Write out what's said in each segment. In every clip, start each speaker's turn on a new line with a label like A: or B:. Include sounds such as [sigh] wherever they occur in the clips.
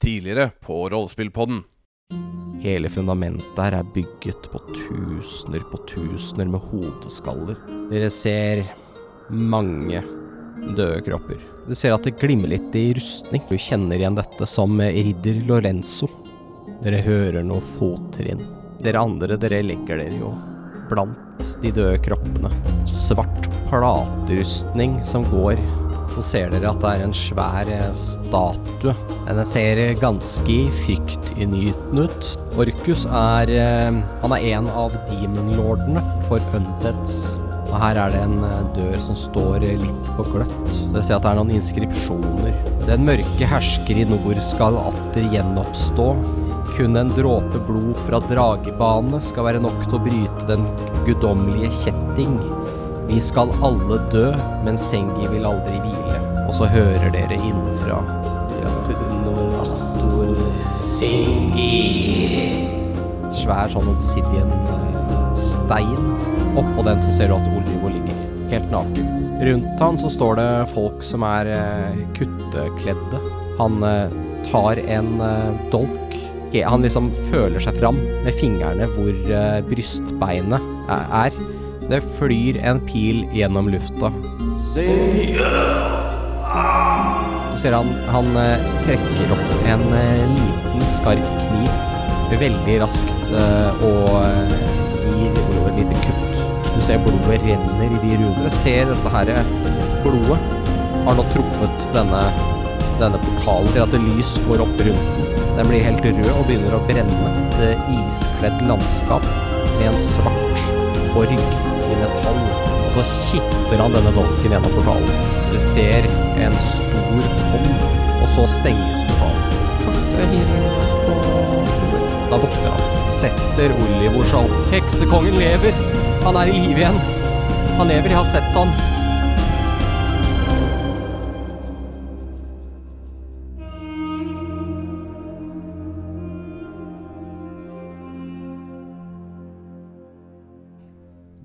A: tidligere på Rollespillpodden.
B: Hele fundamentet her er bygget på tusener på tusener med hodeskaller. Dere ser mange døde kropper. Du ser at det glimmer litt i rustning. Du kjenner igjen dette som ridder Lorenzo. Dere hører noe fottrinn. Dere andre, dere legger dere jo blant de døde kroppene. Svart platerustning som går. Så ser dere at det er en svær eh, statue. Den ser ganske fryktinngytende ut. Orkus er eh, Han er en av demonlordene for Undeads. Og her er det en eh, dør som står eh, litt på gløtt. Dere ser at det er noen inskripsjoner. Den mørke hersker i nord skal atter gjenoppstå. Kun en dråpe blod fra dragebane skal være nok til å bryte den guddommelige kjetting. Vi skal alle dø, men Sengi vil aldri hvile. Og så hører dere innenfra. Svær sånn obsidian-stein. Oppå den så ser du at Olivo ligger helt naken. Rundt han så står det folk som er eh, kuttekledde. Han eh, tar en eh, dolk. Ok, Han liksom føler seg fram med fingrene hvor eh, brystbeinet eh, er. Det flyr en pil gjennom lufta. Du ser han, han eh, trekker opp en eh, liten skarp kniv veldig raskt eh, og eh, gir blodet et lite kutt. Du ser blodet renner i de runene. Du ser dette her eh, blodet har nå truffet denne, denne portalen. Du ser at det lys går opp rundt den. Den blir helt rød og begynner å brenne. Et eh, iskledd landskap med en svart borg i metall. Og så kitter han denne dolken gjennom portalen. Du ser en stor hånd, og så stenges portalen.
C: kaster healing på
B: Da våkner han. Setter Oliver seg opp. Heksekongen lever! Han er i live igjen! Han lever, jeg har sett han.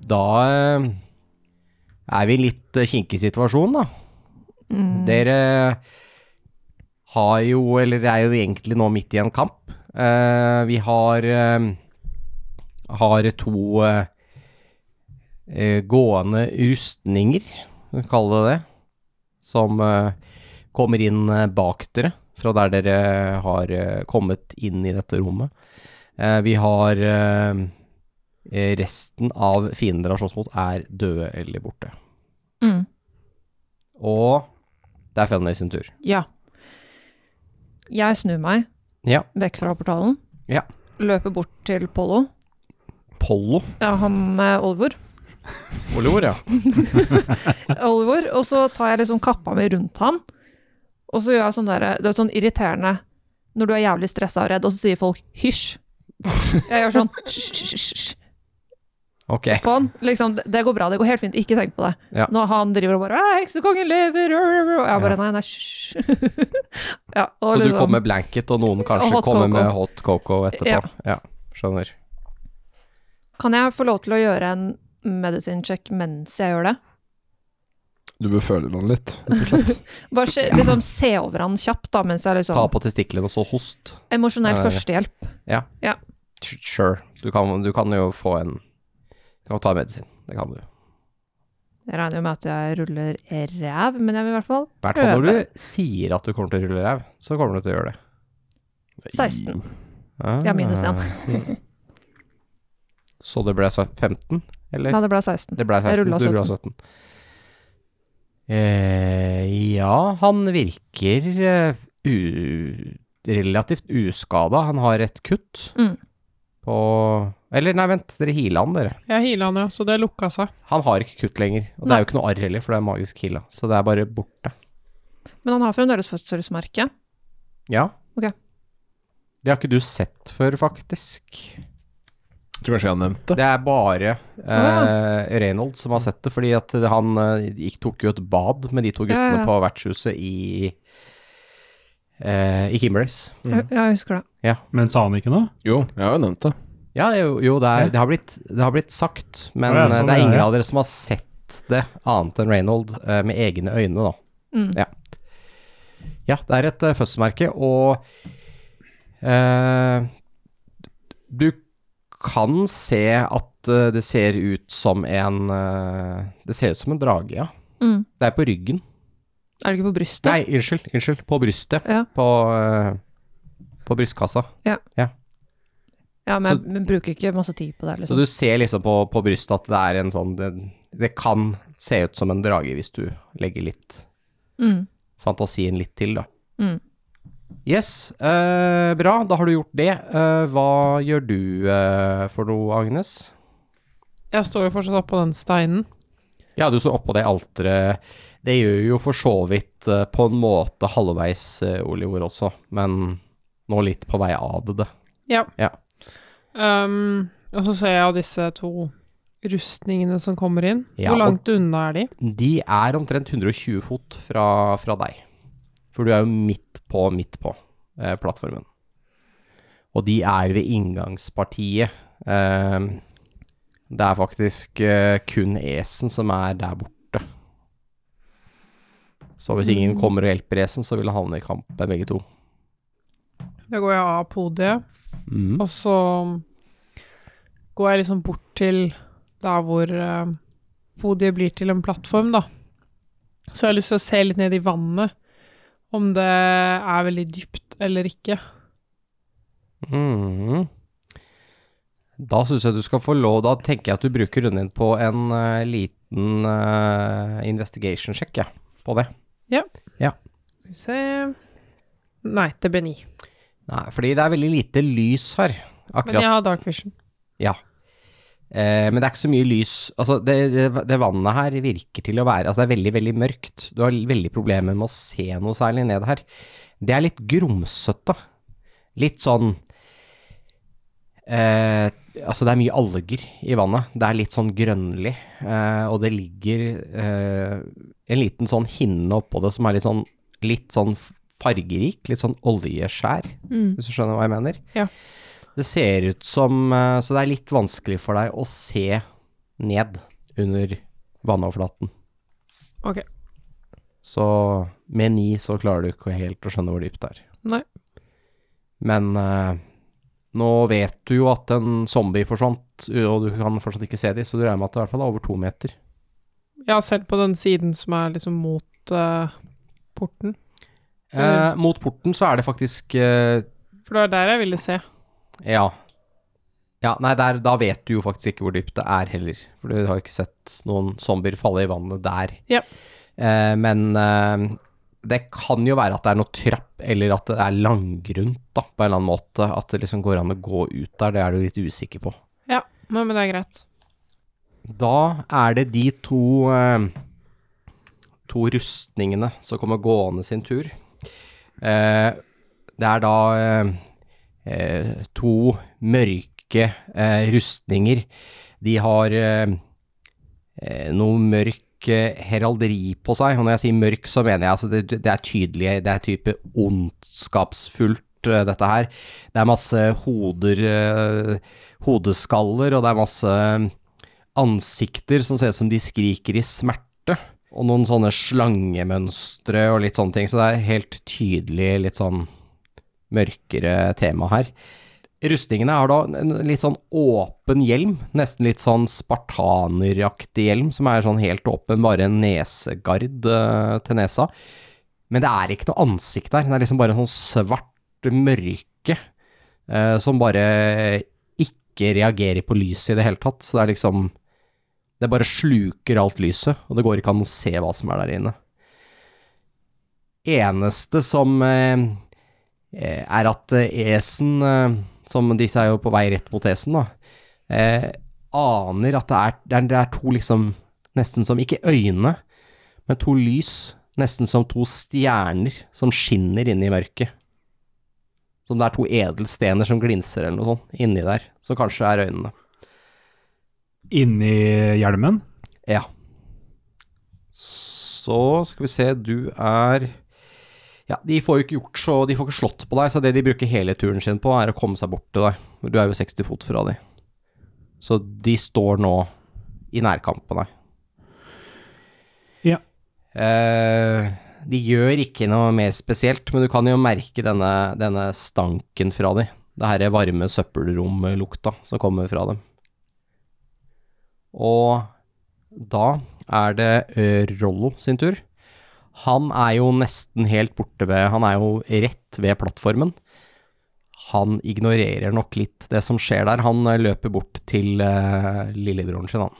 B: Da eh, er vi i litt eh, kinkig situasjon, da. Dere har jo, eller er jo egentlig nå midt i en kamp. Eh, vi har eh, har to eh, eh, gående rustninger, kan vi kalle det det, som eh, kommer inn eh, bak dere, fra der dere har eh, kommet inn i dette rommet. Eh, vi har eh, eh, Resten av fiendene dere har slåss mot, er døde eller borte.
C: Mm.
B: Og det er Fenny sin tur.
C: Ja. Jeg snur meg
B: Ja.
C: vekk fra portalen.
B: Ja.
C: Løper bort til Pollo.
B: Pollo.
C: Ja, han er Olvor.
B: Olivor, ja.
C: Olvor. Og så tar jeg liksom kappa mi rundt han. Og så gjør jeg sånn derre Det er sånn irriterende når du er jævlig stressa og redd, og så sier folk 'hysj'. Jeg gjør sånn hysj, hysj, hysj, hysj
B: Ok.
C: på han. Liksom, det- det går bra, det går helt fint, ikke tenk på det.
B: Ja.
C: Når han driver og bare «Æ, 'Heksekongen lever', rå, rå, rå», og jeg
B: Ja.
C: bare nei, nei, hysj. [laughs] ja, og
B: Så du
C: liksom-
B: kommer med blanket, og noen
C: Og
B: kanskje
C: hot
B: kommer med
C: cocoa.
B: hot coco etterpå.
C: Ja.
B: Ja. skjønner.
C: Kan jeg få lov til å gjøre en medicine check mens jeg gjør det?
D: Du bør føle noen litt.
C: Bare se, liksom, se over han kjapt da, mens jeg
B: Ta
C: liksom
B: på testiklene og så host.
C: Emosjonell
B: Ja, ja, ja.
C: førstehjelp.
B: Sure. Du kan, du kan jo få en Du kan ta medisin. Det kan du. I
C: Jeg regner jo med at jeg ruller ræv, men jeg vil i hvert fall
B: hvert fall når
C: Prøve.
B: du sier at du kommer til å rulle ræv, så kommer du til å gjøre det.
C: 16. Jeg har minus [laughs] én.
B: Ah. Mm. Så det ble så- 15, eller?
C: Nei, det ble 16.
B: Det ble 16.
C: Jeg rullet
B: du rullet 17. Eh, ja, han virker eh, u relativt uskada. Han har et kutt
C: Mm.
B: på Eller nei, vent, dere heala han, dere.
E: Jeg heala han, ja, så det lukka seg.
B: Han har ikke kutt lenger. Og det er jo ikke noe arr heller, for det er magisk heala. Så det er bare borte.
C: Men han har fremdeles fødselsmerke.
B: Ja.
C: Ok.
B: Det har ikke du sett før, faktisk.
D: Jeg tror kanskje jeg har nevnt det.
B: Det er bare
C: ja.
B: eh, Reynold som har sett det, fordi at han eh, gikk, tok jo et bad med de to
C: Ja,
B: guttene
C: ja.
B: på vertshuset i eh, I Kimberleys.
C: Jeg, jeg husker det.
F: Men sa han ikke noe?
D: Jo, jeg har jo nevnt det.
B: Ja, jo, jo det,
F: Ja.
B: er, det, har blitt, det har blitt sagt, men
F: Å, ja,
B: eh,
F: sånn,
B: det er
F: ja,
B: ingen
F: ja.
B: av dere som har sett det, annet enn Reynold, eh, med egne øyne, da.
C: Mm.
B: Ja, det er et eh, fødselsmerke, og Eh, du kan se at eh, det ser ut som en eh, Det ser ut som en drage, ja.
C: Mm.
B: Det er på ryggen.
C: Er det ikke på brystet?
B: Nei, unnskyld. Unnskyld. På brystet.
C: Ja.
B: På, eh, på brystkassa.
C: Ja, men
B: Så-
C: jeg bruker ikke masse tid på det.
B: Så
C: liksom.
B: du ser liksom på, på brystet at det er en sånn det, det kan se ut som en drage hvis du legger litt
C: Mm.
B: fantasien litt til, da.
C: Mm.
B: Yes, eh, bra. Da har du gjort det. Eh, hva gjør du eh, for noe, Agnes?
E: Jeg står jo fortsatt oppå den steinen.
B: Ja, du står oppå det alteret. Det gjør jo for så vidt eh, på en måte halvveis eh, Oliver også, men nå litt på vei av det.
E: Ja.
B: Ja.
E: Ehm, og så ser jeg disse to rustningene som kommer inn.
B: Ja,
E: Hvor
B: og-
E: langt unna er de?
B: De er omtrent 120 fot fra, fra deg. For du er jo midt på, midt på eh, plattformen. Og de er ved inngangspartiet. Eh, det er faktisk eh, kun Esen som er der borte. Så hvis ingen kommer og hjelper Esen, så vil han havne i kamp, begge to.
E: Da går jeg av podiet,
B: Mm.
E: og så går jeg liksom bort til der hvor eh, podiet blir til en plattform, da. Så jeg har lyst til å se litt ned i vannet, om det er veldig dypt eller ikke.
B: Mhm. Da syns jeg du skal få lov Da tenker jeg at du bruker runden din på en eh, liten eh, investigation check, jeg, på det.
E: Skal vi se Nei, det ble ni.
B: Nei, fordi det er veldig lite lys her.
E: Men
B: Akkurat.
E: jeg har dark vision.
B: eh, men det er ikke så mye lys. Altså, det, det, det vannet her virker til å være Altså, det er veldig, veldig mørkt. Du har veldig problemer med å se noe særlig ned her. Det er litt grumsete. Litt sånn eh, Altså, det er mye alger i vannet. Det er litt sånn grønnlig. Eh, og det ligger eh, en liten sånn hinne oppå det som er litt sånn, litt sånn fargerik. Litt sånn oljeskjær. hvis du skjønner hva jeg mener.
E: Ja.
B: Det ser ut som eh, Så det er litt vanskelig for deg å se ned under vannoverflaten.
E: Ok.
B: Så med ni så klarer du ikke helt å skjønne hvor dypt det er.
E: Nei.
B: Men eh, nå vet du jo at en zombie forsvant, og du kan fortsatt ikke se dem, så du regner med at det i hvert fall er over to meter.
E: Ja, selv på den siden som er liksom mot eh, porten.
B: Eh, mot porten så er det faktisk eh,
E: For det var der jeg ville se.
B: Ja. Ja, nei, der, da vet du jo faktisk ikke hvor dypt det er heller. For du har jo ikke sett noen zombier falle i vannet der.
E: Ja.
B: Eh, men eh, det kan jo være at det er noe trapp, eller at det er langgrunt, da, på en eller annen måte. At det liksom går an å gå ut der. Det er du litt usikker på.
E: Ja, men, men det er greit.
B: Da er det de to eh, To rustningene som kommer gående sin tur. Eh, det er da eh, eh, to mørke eh, rustninger. De har eh, eh, noe mørk eh, heralderi på seg, og når jeg sier mørk, så mener jeg altså det, det er tydelig, det er type ondskapsfullt, eh, dette her. Det er masse hoder, eh, hodeskaller, og det er masse eh, ansikter som ser ut som de skriker i smerte, og noen sånne slangemønstre og litt sånne ting, så det er helt tydelig litt sånn mørkere tema her. Rustningene har da en litt sånn åpen hjelm, nesten litt sånn spartaneraktig hjelm, som er sånn helt åpen, bare en nesegard eh, til nesa. Men det er ikke noe ansikt der, det er liksom bare en sånn svart mørke eh, som bare ikke reagerer på lyset i det hele tatt. Så det er liksom Det bare sluker alt lyset, og det går ikke an å se hva som er der inne. Eneste som eh, eh, er at eh, esen eh, Som disse er jo på vei rett mot esen, da. Eh, aner at det er, det er, det er to liksom Nesten som ikke øyne, men to lys. Nesten som to stjerner som skinner inne i mørket. Som det er to edelstener som glinser eller noe sånt inni der. Så kanskje er øynene.
F: Inni hjelmen.
B: Ja. Så skal vi se, du er Ja, de får jo ikke gjort så De får ikke slått på deg, så det de bruker hele turen sin på, er å komme seg bort til deg. Du er jo 60 fot fra de. Så de står nå i nærkamp på deg.
F: Ja.
B: Eh, De gjør ikke noe mer spesielt, men du kan jo merke denne, denne stanken fra de. Det her varme søppelromlukta som kommer fra dem. Og da er det eh, Rollo sin tur. Han er jo nesten helt borte ved Han er jo rett ved plattformen. Han ignorerer nok litt det som skjer der. Han eh, løper bort til eh, lillebroren sin, han.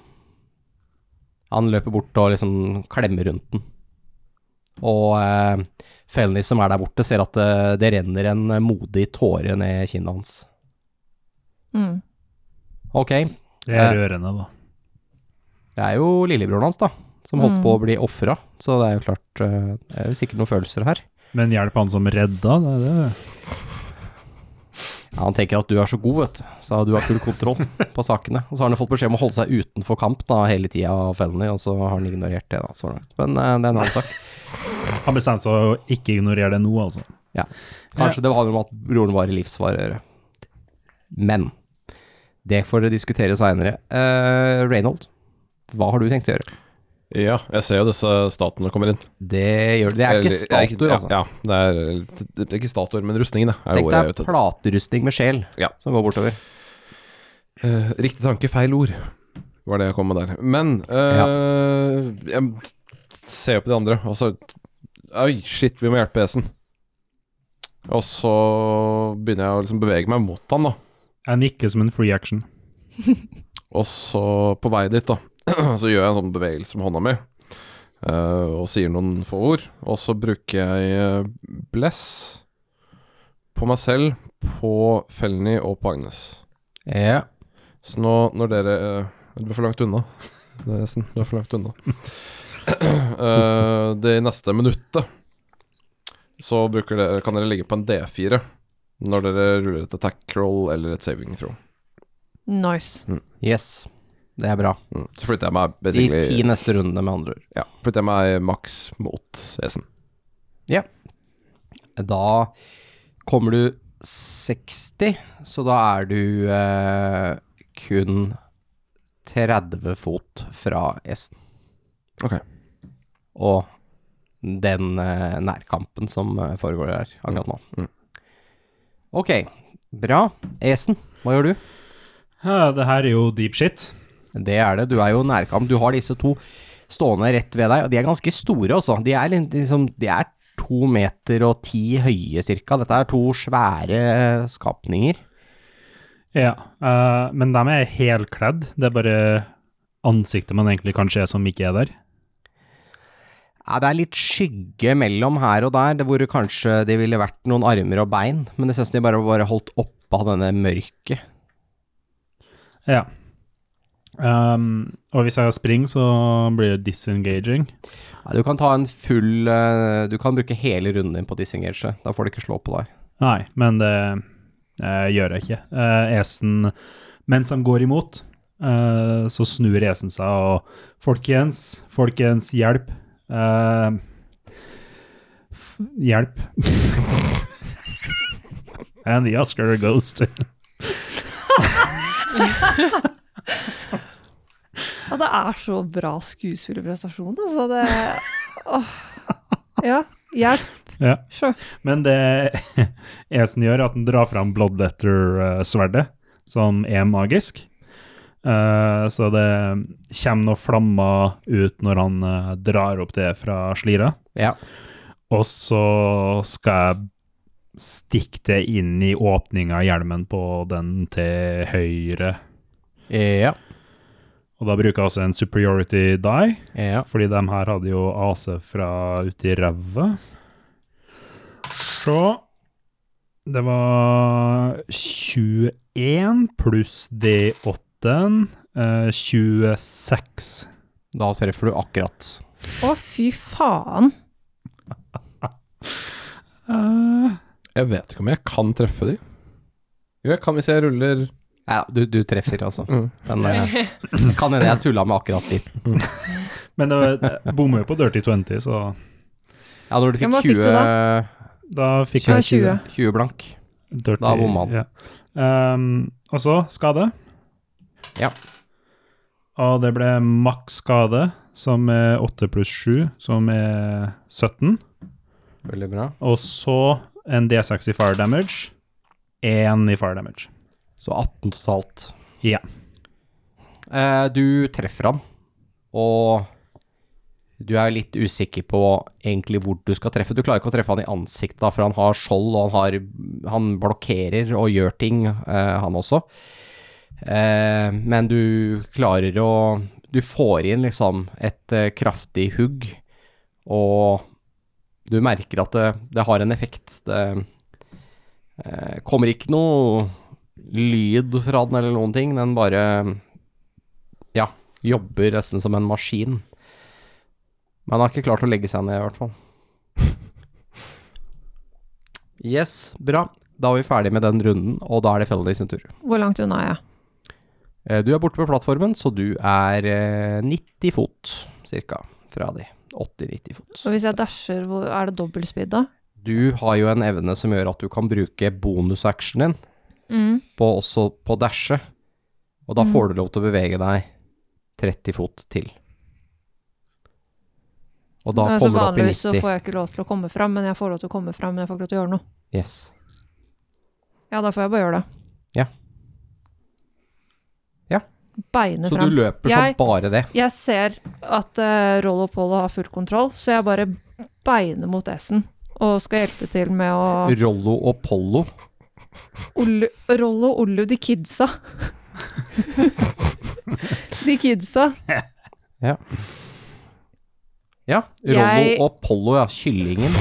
B: Han løper bort og liksom klemmer rundt den. Og eh, Felny som er der borte, ser at eh, det renner en modig tåre ned kinnet hans.
C: Mm.
B: Ok, det
F: Det er rørende, da.
B: er jo lillebroren hans, da, som holdt
C: Mm.
B: på å bli ofra. Så det er jo klart eh, Det er jo sikkert noen følelser her.
F: Men hjelp han som redda, det er det.
B: Ja, han tenker at du er så god, vet du, så du har full [laughs] kontroll på sakene. Og så har han jo fått beskjed om å holde seg utenfor kamp da, hele tida av Felny, og så har han ignorert det, da, så langt. Men eh, det er en [laughs] annen sak.
F: Han bestemte seg å ikke ignorere det nå, altså.
B: Kanskje det handler om at broren var i livsfare å gjøre. Men det får dere diskutere seinere. Eh, Reynold, hva har du tenkt å gjøre?
D: Ja, jeg ser jo disse statuene kommer inn.
B: Det gjør du. Det er ikke
D: Eller- jeg-
B: statuer, altså.
D: Ja, ja det, er, det er ikke statuer, men rustningen, da. Er
B: Tenk
D: ordet jeg er
B: deg
D: ute etter.
B: platerustning med sjel
D: Ja.
B: som går bortover.
D: Eh, riktig tanke, feil ord, var det jeg kom med der. Men eh, jeg ser jo på de andre, og så Oi, shit, vi må hjelpe Esen. Og så begynner jeg å liksom bevege meg mot han, da.
F: Jeg nikker som en free action.
D: Og så på vei dit, da, [clears throat] så gjør jeg en sånn bevegelse med hånda mi. eh, og sier noen få ord. Og så bruker jeg eh, bless på meg selv, på Felny og på Agnes.
B: Ja.
D: Så nå når dere eh, Du er for langt unna. [laughs] Nesten. Du er for langt unna. [clears throat] Eh, det neste minuttet så bruker dere, kan dere ligge på en D4 når dere ruller et attack roll eller et saving throw.
C: Nice.
B: Yes. Det er bra.
D: Mm. Så flytter jeg meg
B: De ti
D: basically
B: neste rundene, med andre ord.
D: Ja, flytter jeg meg maks mot Esen.
B: Da kommer du 60, så da er du eh, kun 30 fot fra S.
D: Ok.
B: Og den eh, nærkampen som eh, foregår her akkurat nå.
D: Mm.
B: Ok, bra. Esen, hva gjør du?
F: Ja, det her er jo deep shit.
B: Det er det. Du er jo nærkamp. Du har disse to stående rett ved deg, og de er ganske store også. De er lin- liksom De er to meter og ti høye cirka. Dette er to svære eh, skapninger.
F: Ja, eh, men de er helkledd. Det er bare ansiktet man egentlig kan se som ikke er der.
B: Ja, det er litt skygge mellom her og der, det hvor det kanskje det ville vært noen armer og bein, men det ser ut som de bare var holdt oppe av denne mørket.
F: Ja. Ehm, og hvis jeg springer, så blir det disengaging.
B: Ja, du kan ta en full eh, Du kan bruke hele runden din på disengage, da får du ikke slå på deg.
F: Nei, men det eh, gjør jeg ikke. Eh, esen, mens de går imot, eh, så snur esen seg og Folkens, folkens, hjelp. Eh, f- hjelp. [laughs] And the Oscar goes to
C: Ja, det er så bra skuespillerprestasjon, altså. Det Åh. Ja. Hjelp.
F: Ja.
C: Sjø.
F: Men det [laughs] Esen gjør, er at han drar fram Bloodletter-sverdet, som er magisk. Eh, så det kommer noen flammer ut når han eh, drar opp det fra slira.
B: Ja.
F: Og så skal jeg stikke det inn i åpninga i hjelmen på den til høyre.
B: Ja.
F: Og da bruker jeg også en superiority die.
B: ja.
F: Fordi de her hadde jo AC fra ute i revet. Så Det var 21 pluss D8-en. eh, 26.
B: Da treffer du akkurat.
C: Å, fy faen.
F: Eh,
D: Jeg vet ikke om jeg kan treffe de. Jo, jeg kan hvis jeg ruller
B: Ja, du, du treffer, altså.
D: Mm.
B: Men
C: [laughs]
B: eh, det kan hende jeg tulla med akkurat ditt.
F: men det var- jeg bommer jo på Dirty 20, så
B: Ja, når du
C: Ja,
B: fikk
C: men hva fikk du
B: 20,
F: da fikk
C: Ja,
F: jeg
C: 20.
F: 20.
B: 20 blank
F: Dirty,
B: Da bomma han.
F: Ja. Ehm, og så skade.
B: Ja.
F: Og det ble maks skade, som er 8 pluss 7, som er 17.
B: Veldig bra.
F: Og så en D6 i fire damage. Én i fire damage.
B: Så 18 totalt.
F: Ja.
B: Eh, du treffer han, og du er litt usikker på egentlig hvor du skal treffe. Du klarer ikke å treffe han i ansiktet, da, for han har skjold, og han, har, han blokkerer og gjør ting, eh, han også. Eh, men du klarer å Du får inn liksom et eh, kraftig hugg, og du merker at det, det har en effekt. Det eh, kommer ikke noe lyd fra den eller noen ting. Den bare ja, jobber nesten som en maskin. Men han har ikke klart å legge seg ned, i hvert fall. [laughs] Yes, bra. Da er vi ferdig med den runden, og da er det Felony sin tur.
C: Hvor langt unna er jeg?
B: Eh, Du er borte på plattformen, så du er eh, 90 fot, cirka, fra de. 80-90 fot.
C: Og hvis jeg dasher, hvor- er det dobbelt speed da?
B: Du har jo en evne som gjør at du kan bruke bonusactionen din
C: Mm.
B: på, også på dashe, og da
C: Mm.
B: får du lov til å bevege deg 30 fot til. Og da
C: Altså,
B: kommer du opp i
C: vanligvis så
B: 90.
C: får jeg ikke lov til å komme fram, men jeg får lov til å komme fram, men jeg får ikke lov til å gjøre noe.
B: Yes.
C: Ja, da får jeg bare gjøre det.
B: Ja. Ja.
C: Beine
B: Så du
C: fram.
B: løper
C: Jeg-
B: som bare det.
C: Jeg ser at uh, Rollo og Pollo har full kontroll, så jeg bare beiner mot S-en. Og skal hjelpe til med å
B: Rollo og Pollo.
C: Ollu, Rollo og Ollu, de kidsa.
B: [laughs]
C: de kidsa.
B: Ja, Rollo
C: Jeg-
B: og Pollo, ja. Kyllingen.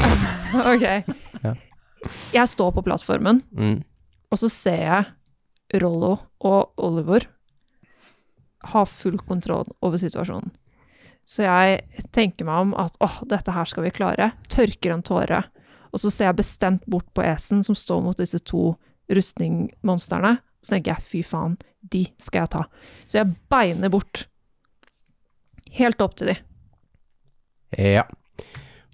C: Ok.
B: Ja.
C: Jeg står på plattformen,
B: Mm.
C: og så ser jeg Rollo og Oliver ha full kontroll over situasjonen. Så jeg tenker meg om at åh, dette her skal vi klare. Tørker en tåre. Og så ser jeg bestemt bort på esen som står mot disse to rustningmonstrene. Så tenker jeg fy faen, de skal jeg ta. Så jeg beiner bort. Helt opp til de.
B: Ja.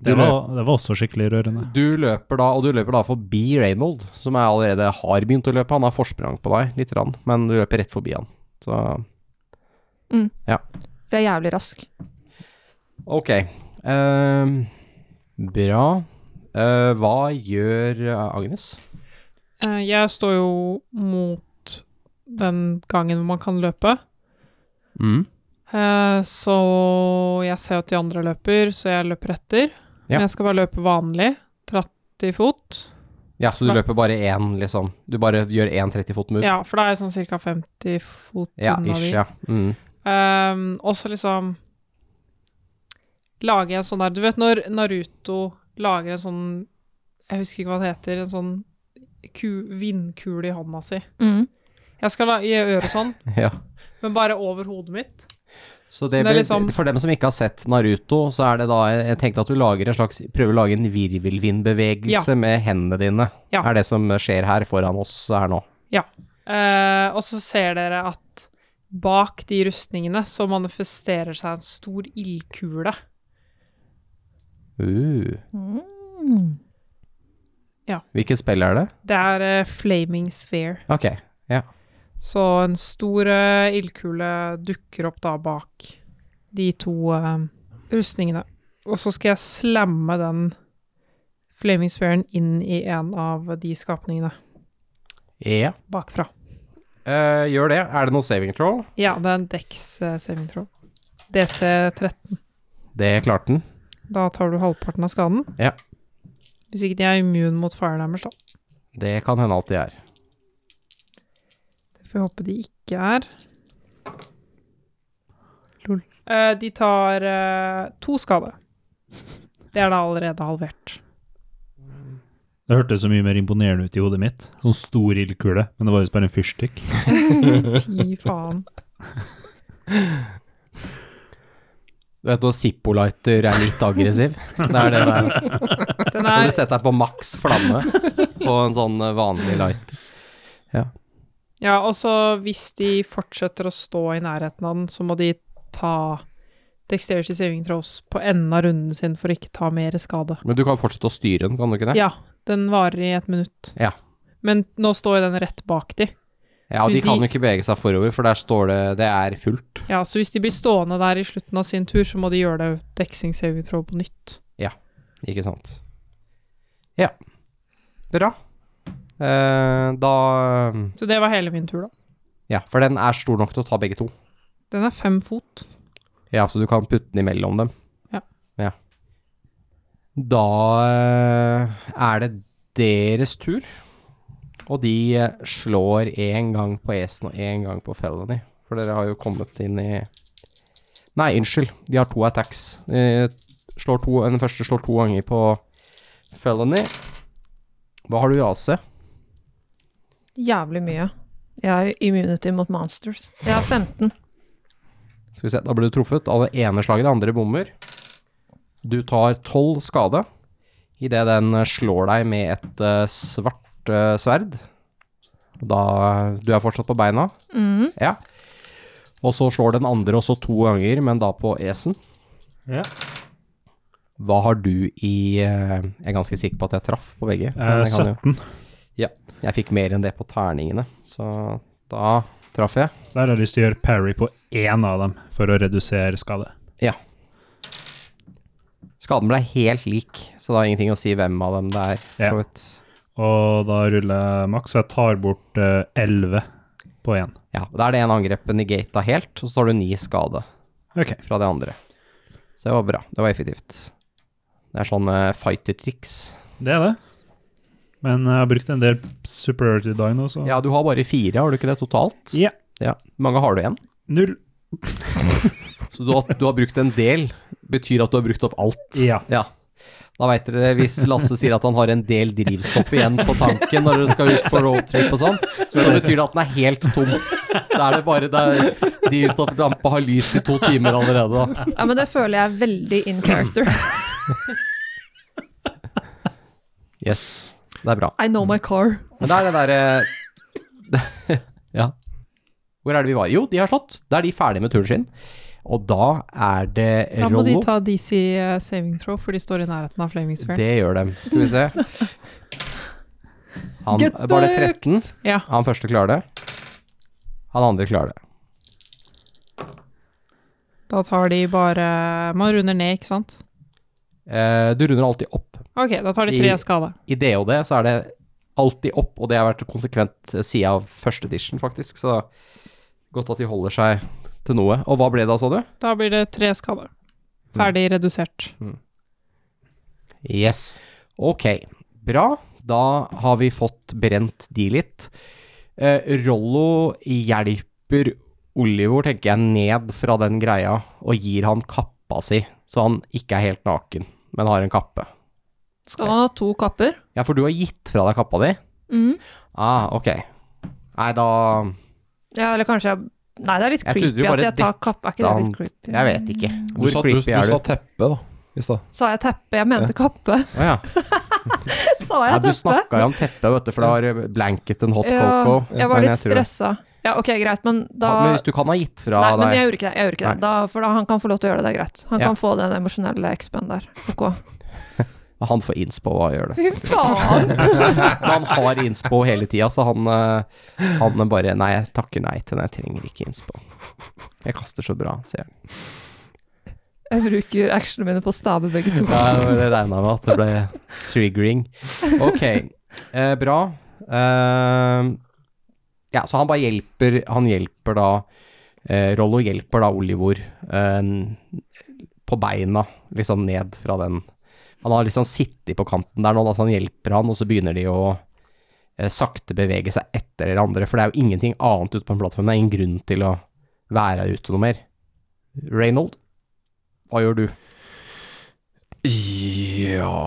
F: Det var, det var også skikkelig rørende.
B: Du løper da, og du løper da forbi Reynold, som er allerede har begynt å løpe. Han har forsprang på deg, litt, rann, men du løper rett forbi han. Så
C: For jeg er jævlig rask.
B: ok. Ehm, bra. Eh, hva gjør eh, Agnes?
E: Eh, Jeg står jo mot den gangen hvor man kan løpe.
B: Mm.
E: Eh, Så jeg ser at de andre løper, så jeg løper etter.
B: Ja.
E: Men jeg skal bare løpe vanlig, 30 fot.
B: Ja, så du
E: Hva?
B: løper bare én, liksom. Du bare gjør én 30 fot move?
E: Ja, for da er jeg sånn ca. 50 fot
B: ja
E: unna
B: ish,
E: de.
B: ja. Mm.
E: Ehm, og så liksom lager jeg en sånn der Du vet når Naruto lager en sånn Jeg husker ikke hva det heter. En sånn ku, vindkule i hånda si.
C: Mm.
E: Jeg skal la, gjøre sånn,
B: ja.
E: men bare over hodet mitt.
B: Så
E: det
B: det
E: er
B: blir,
E: liksom-
B: For dem som ikke har sett Naruto, så er det da Jeg jeg tenkte at du lager en slags, prøver å lage en virvelvindbevegelse med hendene dine.
E: Ja.
B: Er det som skjer her foran oss her nå.
E: Eh, og så ser dere at bak de rustningene så manifesterer seg en stor ildkule.
B: Uh.
C: Mm.
B: Hvilket spill er det?
E: Det er eh, flaming sphere.
B: Ok.
E: Så en stor eh, ildkule dukker opp da bak de to eh, rustningene. Og så skal jeg slamme den flaming sphere'en inn i en av de skapningene
B: Ja.
E: bakfra.
B: Eh, gjør det. Er det noe saving troll?
E: Ja, det er en Dex eh, saving throw. DC13.
B: Det klarte den.
E: Da tar du halvparten av skaden.
B: Ja.
E: Hvis ikke de er immune mot fire damage, da.
B: Det kan hende alt det er.
E: Det får vi håpe de ikke er. Lol. Eh, de tar eh, to skade. Det er da allerede halvert.
F: Det hørtes så mye mer imponerende ut i hodet mitt. Sånn stor ildkule, men det var visst bare en fyrstikk.
E: [laughs] Fy faen.
B: Du vet når Zippo-lighter er litt
E: [laughs]
B: aggressiv? Det er det der.
E: Den
B: Når du
E: er,
B: setter deg på maks flamme på en sånn eh, vanlig light.
E: ja, og så hvis de fortsetter å stå i nærheten av den, så må de ta Dexterity Saving Throws på enden av runden sin for å ikke ta mer skade.
B: Men du kan fortsette å styre den, kan du ikke det?
E: Ja, den varer i et minutt.
B: Ja.
E: Men nå står jo den rett bak de.
B: Ja, de
E: Hvis de-
B: kan jo ikke bevege seg forover, for der står det det er fullt.
E: Ja, så hvis de blir stående der i slutten av sin tur, så må de gjøre det deksing saving throw på nytt.
B: Ikke sant. Ja. Bra. Eh, da
E: Så det var hele min tur, da.
B: Ja, for den er stor nok til å ta begge to.
E: Den er fem fot.
B: Ja, så du kan putte den imellom dem.
E: Ja.
B: ja. Da eh, er det deres tur. Og de eh, slår én gang på Esen og én gang på Felony. For dere har jo kommet inn i Nei, unnskyld. De har to attacks. Eh, slår to, den første slår to ganger på Felony. Hva har du i AC?
C: Jævlig mye. Jeg har immunity mot monsters. Jeg har 15.
B: Skal vi se, da ble du truffet av det ene slaget, det andre bommer. Du tar tolv skade idet den eh, slår deg med et eh, svart eh, sverd. Da Du er fortsatt på beina.
C: Mhm.
B: Ja. Og så slår den andre også to ganger, men da på esen.
F: Ja.
B: Hva har du i eh, Jeg er ganske sikker på at jeg traff på begge. men
F: Eh,
B: jeg kan jo-
F: 17.
B: Jeg fikk mer enn det på terningene, så da traff jeg.
F: Der har jeg lyst til å gjøre parry på én av dem for å redusere skade.
B: Skaden ble helt lik, så det har ingenting å si hvem av dem det er. for
F: Ja.
B: så vidt.
F: Og da ruller jeg maks, så jeg tar bort eh, 11 på én.
B: Ja, da er det ene angrepet negata helt, og så tar du ni skade
F: OK.
B: fra det andre. Så det var bra. Det var effektivt. Det er sånn eh, fighter-triks.
F: Det er det. Men jeg har brukt en del superiority die nå, så
B: Ja, du har bare fire, har du ikke det totalt?
F: Ja.
B: Ja. Hvor mange har du igjen?
F: null.
B: Så du har, du har brukt en del, betyr at du har brukt opp alt.
F: Ja.
B: Ja. Da veit dere det, hvis Lasse sier at han har en del drivstoff igjen på tanken når dere skal ut på roadtrip og sånn, så betyr det at den er helt tom. Da er det bare der drivstofflampa har lyst i to timer allerede, da.
C: Ja, men det føler jeg er veldig in character.
B: Yes. Det er bra.
C: I know my car.
B: Men det er det derre [laughs] Ja. Hvor er det vi var? Jo, de har slått. Da er de ferdige med turen sin. Og da er det
E: Da må de
B: Rollo.
E: ta DC eh, saving throw, for de står i nærheten av Flaming Sphere.
B: Det gjør dem. Skal vi se. Han Var det 13?
E: Ja.
B: Han første klarer det. Han andre klarer det.
E: Da tar de bare Man runder ned, ikke sant?
B: Eh, du runder alltid opp.
E: Ok, da tar de tre
B: I-
E: skade.
B: I DOD så er det alltid opp, og det har vært konsekvent eh, siden av første edition, faktisk. Så godt at de holder seg til noe. Og hva ble det da, så du?
E: Da blir det tre skade.
B: Mm.
E: Ferdig redusert.
B: Yes. Ok, bra. Da har vi fått brent de litt. Eh, Rollo hjelper Olivor, tenker jeg, ned fra den greia og gir han kappa si, så han ikke er helt naken, men har en kappe.
C: [laughs] Skal han ha to kapper?
B: Ja, for du har gitt fra deg kappa di?
C: Mhm.
B: Ah, ok. Nei, da
C: Ja, eller kanskje jeg Nei, det er litt
B: Jeg trodde du
C: creepy at
B: bare
C: jeg tar kapp. Er ikke det litt
B: dekket
C: creepy?
B: Jeg vet ikke.
D: Du
B: Hvor
D: sa, du, du
B: creepy er du?
D: sa teppe, da. i stad.
C: Sa jeg teppe? Jeg mente kappe. [laughs]
B: Å ja. ja. Du
C: Sa jeg Ah, teppe?
B: snakka jo om teppet, vet du, for det var blanket en hot
C: Ja,
B: coco.
C: jeg
B: Men
C: var
B: tror
C: litt
B: det.
C: stressa. Ja, ok, greit, men da
B: Men hvis du kan ha gitt fra
C: Nei, men
B: deg
C: jeg gjorde ikke det. Jeg gjorde ikke det.
B: Nei.
C: Da, for da han kan få lov til å gjøre det, det er greit. Han
B: Ja.
C: kan få den emosjonelle expen der. Ok.
B: [laughs] Han får innspo hva han gjør det.
C: Fy faen!
B: Men [laughs] han har innspo hele tida, så han, eh, han er bare Nei, jeg takker nei til den, jeg trenger ikke innspo. Jeg kaster så bra, sier han.
C: [laughs] Jeg bruker actionene mine på å stabe begge to.
B: [laughs] Ja, Det regna med at det ble triggering. Ok, eh, bra. Eh, ja, så han bare hjelper Han hjelper da eh, Rollo hjelper da Olivor eh, på beina, liksom ned fra den Han har liksom sittet på kanten der nå, da, så han hjelper han, og så begynner de å eh, sakte bevege seg etter dere andre, for det er jo ingenting annet ute på en plattform. Det er ingen grunn til å være her ute noe mer. Reynold, hva gjør du?
D: Ja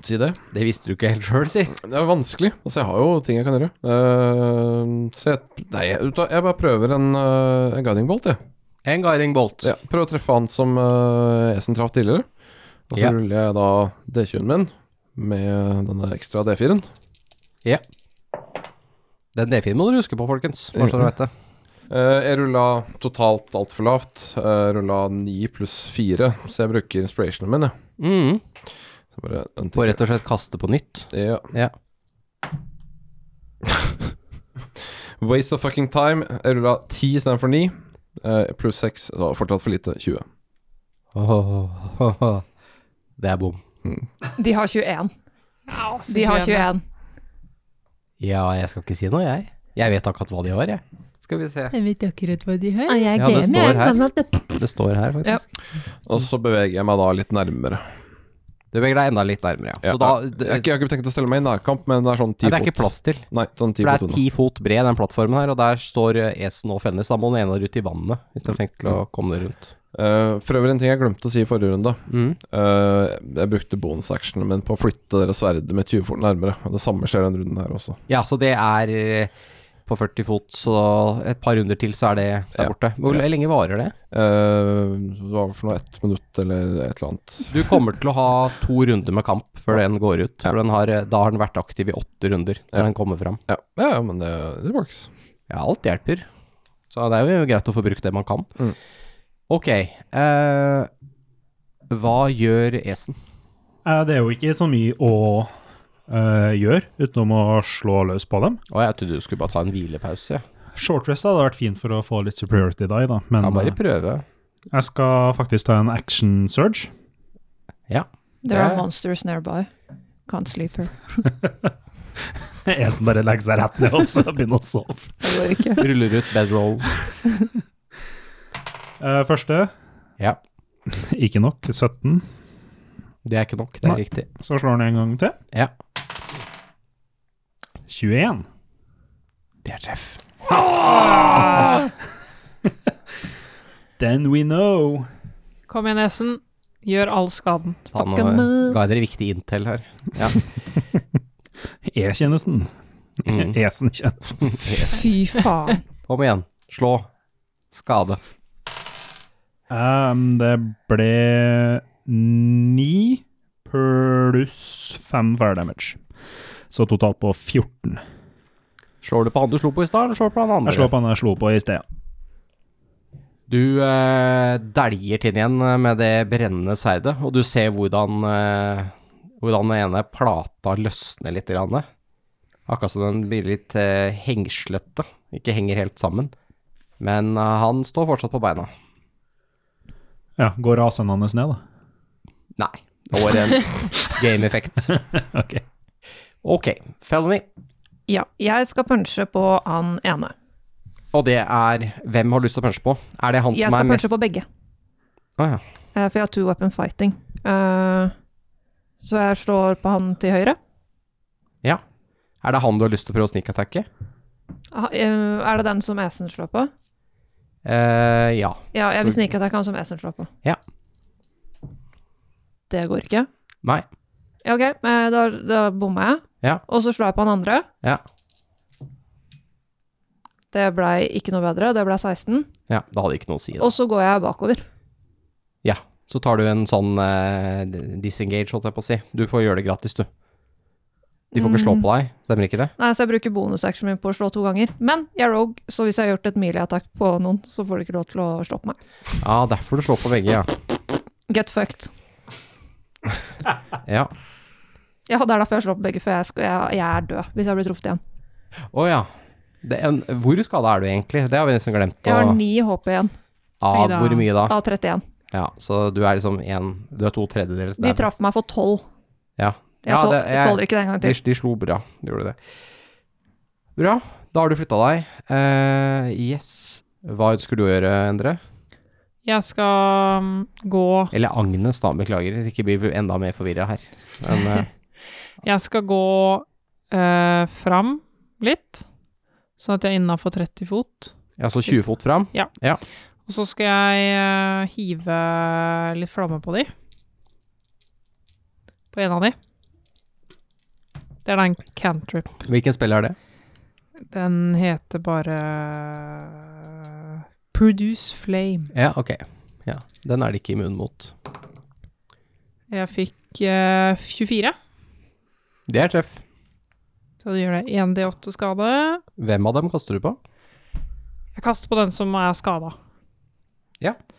D: Si det.
B: Det visste du ikke helt sjøl, si.
D: Det er vanskelig. Altså, jeg har jo ting jeg kan gjøre. Eh, så jeg Nei, jeg, vet du hva, jeg bare prøver en, eh, en guiding bolt, jeg.
B: En guiding bolt.
D: Ja, prøver å treffe han som eh, Esen traff tidligere. Og så
B: Ja.
D: ruller jeg da D20-en min med denne ekstra D4-en.
B: Den D4 må dere huske på, folkens. Bare så dere vet det.
D: Eh, jeg rulla totalt altfor lavt. Uh, rulla 9 pluss 4, så jeg bruker inspirationen min, jeg.
B: Mm.
D: Så bare en
B: Får rett og slett kaste på nytt.
D: Ja.
B: Ja.
D: [laughs] Waste of fucking time. Jeg rulla 10 istedenfor 9. eh, Pluss 6, så fortsatt for lite. 20.
B: Åh, Det er bom.
C: De har 21. De har 21.
B: Ja, jeg skal ikke si noe, jeg. Jeg vet akkurat hva de har, jeg. Skal vi se.
E: Jeg vet akkurat hva de har.
C: Og jeg
B: Ja, det
C: gamer,
B: står
C: jeg
B: her.
C: kan alt dette.
B: Det står her, faktisk.
D: Og så beveger jeg meg da litt nærmere.
B: Du beveger deg enda litt nærmere, ja.
D: Ja,
B: Så da,
D: jeg,
B: det,
D: jeg, har ikke- jeg har ikke tenkt å stelle meg i nærkamp, men det er sånn 10
B: nei, det er ikke plass til.
D: Nei, sånn 10
B: For det er
D: fot
B: ti fot bred, den plattformen her, og der står eh, Esen og Fennes. Da må den ene ut i vannet, hvis du har tenkt til å komme deg
D: unna.
B: rundt.
D: Eh, for øvrig en ting jeg glemte å si i forrige runde.
B: Mm.
D: Eh, jeg brukte bonusactionen min på å flytte dere sverdet med 20 fot nærmere. Og Det samme skjer denne runden her også.
B: Ja, så det er eh, på 40 fot, så et par runder til, så er det der
D: Ja.
B: borte. Hvor
D: Ja.
B: lenge varer det?
D: Eh, det var vel for noe ett minutt eller et eller annet.
B: Du kommer til å ha to runder med kamp før den går ut. For den har, eh, da har den vært aktiv i åtte runder når
D: Ja.
B: den kommer fram.
D: Ja, ja, ja men det, det works.
B: Ja, alt hjelper. Så det er jo greit å få brukt det man kan.
D: Mm.
B: Ok. eh, hva gjør Esen?
F: Eh, Det er jo ikke så mye å eh, gjøre utenom å slå løs på dem.
B: Å, jeg trodde du skulle bare ta en hvilepause. Ja.
F: Shortrest hadde vært fint for å få litt superiority die, da, men
B: Kan bare
F: eh,
B: prøve.
F: jeg skal faktisk ta en action surge. [laughs]
C: There are
B: Ja.
C: monsters nearby. Can't sleep here.
F: Esen bare legger seg rett ned og så begynner å sove.
C: Det går ikke.
B: Ruller ut bedroll.
F: Eh, første
B: Ja.
F: [laughs] ikke nok. 17.
B: Det er ikke nok, det er
F: Nei.
B: riktig.
F: Så slår han en gang til.
B: Ja.
F: 21.
B: Det er treff.
F: Then we know.
E: Kom igjen, Esen. Gjør all skaden.
B: Faen,
C: Fuck 'em
B: nå
C: up.
B: ga jeg dere viktig intel her.
F: E-tjenesten. [laughs]
B: Mm.
F: Esen-tjenesten.
C: Fy faen.
B: Kom igjen. Slå. Skade.
F: Ehm, det ble 9 pluss 5 fire damage. Så totalt på 14.
B: Slår du på han du slo på i stad, eller slår du på han andre?
F: Jeg slår på han jeg slo på i sted.
B: Du eh, deljer til den igjen eh, med det brennende sverdet, og du ser hvordan, eh, hvordan den ene plata løsner litt. Grann. Akkurat som den blir litt eh, hengslete, ikke henger helt sammen. Men eh, han står fortsatt på beina.
F: Ja, går rasende hans ned, da?
B: Nei, det var
F: [laughs]
B: en game-effekt.
F: Ok.
B: Ok, felony.
C: Ja, jeg skal punche på han ene.
B: Og det er Hvem har lyst til å punche på? Er det han
C: Jeg
B: som
C: skal
B: er mest
C: punche på begge,
B: Å ja.
C: eh, for jeg har two weapon fighting. Eh, Så jeg slår på han til høyre.
B: ja. Er det han du har lyst til å prøve å snikatakke?
C: Ah, eh, Er det den som Esen slår på?
B: Eh, ja.
C: Ja, jeg vil snike at jeg kan som Esen slår på.
B: Ja.
C: Det går ikke.
B: Nei.
C: Ja, ok, eh, da, da bomma jeg.
B: Ja.
C: Og så slår jeg på han andre.
B: Ja.
C: Det blei ikke noe bedre, det blei 16.
B: Ja, da hadde jeg ikke noe å si. da.
C: Og så går jeg bakover.
B: Ja, så tar du en sånn eh, disengage, holdt jeg på å si. Du får gjøre det gratis, du. De får ikke slå på deg, stemmer ikke det?
C: Nei, så jeg bruker bonusactionen min på å slå to ganger. Men jeg er rogue, så hvis jeg har gjort et melee-attack på noen, så får du ikke lov til å slå på meg.
B: Ja, derfor du slår på begge, ja.
C: Get fucked.
B: Ja.
C: Ja, det er derfor jeg slår på begge, for jeg, skal, jeg, jeg er død hvis jeg blir truffet igjen.
B: Å ja. Det er en, hvor skada er du egentlig? Det har vi nesten glemt.
C: Jeg har
B: å-
C: 9 HP igjen
B: Av hvor mye da?
C: av 31.
B: Ja, så du er liksom en Du er to tredjedeler.
C: De traff meg for 12.
B: Ja.
C: Jeg,
B: Ja,
C: tål,
B: det-
C: jeg tåler ikke det en gang
B: De,
C: til.
B: de slo bra, de gjorde det. Bra, da har du flytta deg. Eh, yes. Hva ønsker du å gjøre, Endre?
E: Jeg skal mm, gå
B: Eller Agnes, da. Beklager, hvis ikke blir vi enda mer forvirra her. Men eh, [laughs]
E: Jeg skal gå eh, fram litt, sånn at jeg er innafor 30 fot.
B: ja, så 20 fot fram.
E: Og så skal jeg eh, hive litt flamme på de. På en av de. Det er da en cantrip.
B: Hvilken spill er det?
E: Den heter bare eh, Produce Flame.
B: Ja, ok. Ja, den er det ikke immun mot.
E: Jeg fikk eh, 24,
B: Det er treff.
E: så det gjør det 1D8 skade.
B: Hvem av dem kaster du på?
E: Jeg kaster på den som er skada.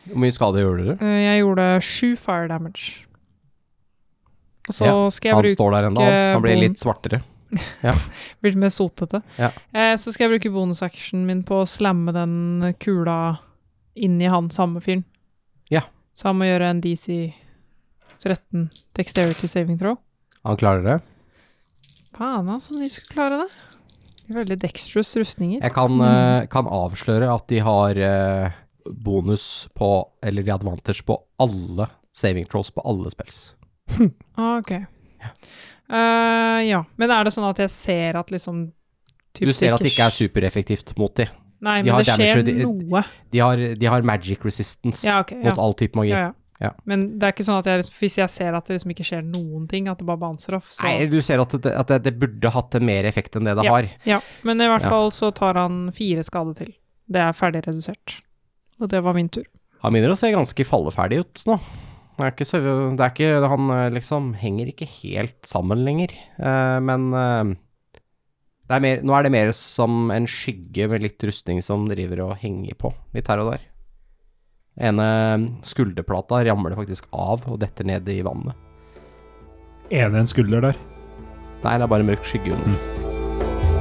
B: Hvor mye skade gjør du?
E: Eh, jeg gjorde 7 fire damage. Og så
B: Ja,
E: skal jeg
B: Han
E: bruke
B: står der ennå, han. han blir
E: bom.
B: litt svartere.
E: Blitt mer sotete.
B: Ja.
E: Eh, så skal jeg bruke bonusactionen min på å slamme den kula inn i han samme fyren.
B: Ja.
E: Så han må gjøre en DC 13 dexterity saving throw.
B: Han klarer det.
E: Faen, altså, de skulle klare det. De er veldig dextrous rustninger.
B: Jeg kan, eh, kan avsløre at de har eh, bonus på, eller de har advantage på alle saving throws på alle spells.
E: Ah, ok. Eh, ja. Men er det sånn at jeg ser at liksom typ,
B: Du ser at det ikke er supereffektivt mot de.
E: Nei,
B: de
E: men
B: har
E: det skjer
B: damage, de-
E: noe.
B: De har, de har magic resistance
E: Ja, ok, ja.
B: mot all type magi.
E: Ja, ja.
B: Ja.
E: Men det er ikke sånn at jeg, liksom- hvis jeg ser at det liksom ikke skjer noen ting, at det bare bouncer off, så
B: Nei, du ser at det, at det, det burde hatt mer effekt enn det det har.
E: Ja, men i hvert
B: Ja.
E: fall så tar han fire skade til. Det er ferdig redusert. Og det var min tur.
B: Han begynner å se ganske falleferdig ut nå. Det er ikke så, det er ikke, han eh, liksom henger ikke helt sammen lenger, Eh, men eh, det er mer, nå er det mer som en skygge med litt rustning som driver og henger på, litt her og der. Ene skulderplata ramler faktisk av og detter ned i vannet.
G: Er det en skulder der?
B: Nei, det er bare mørk skygge under.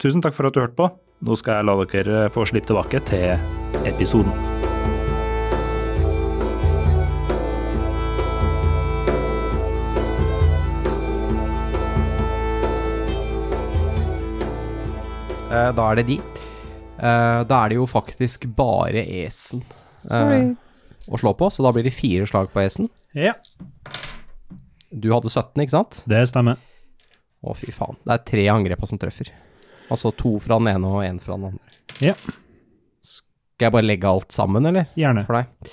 F: Tusen takk for at du hørte på. Nå skal jeg la dere få slippe tilbake til episoden.
B: Eh, Da er det de. Eh, Da er det jo faktisk bare esen eh,
H: Sorry.
B: å slå på, så da blir det fire slag på esen.
G: Ja,
B: Du hadde 17, ikke sant?
G: det stemmer.
B: Å, fy faen. Det er tre angrepa som treffer. Altså to fra den ene og én fra den andre.
G: Ja.
B: Skal jeg bare legge alt sammen, eller?
G: Gjerne.
B: For deg.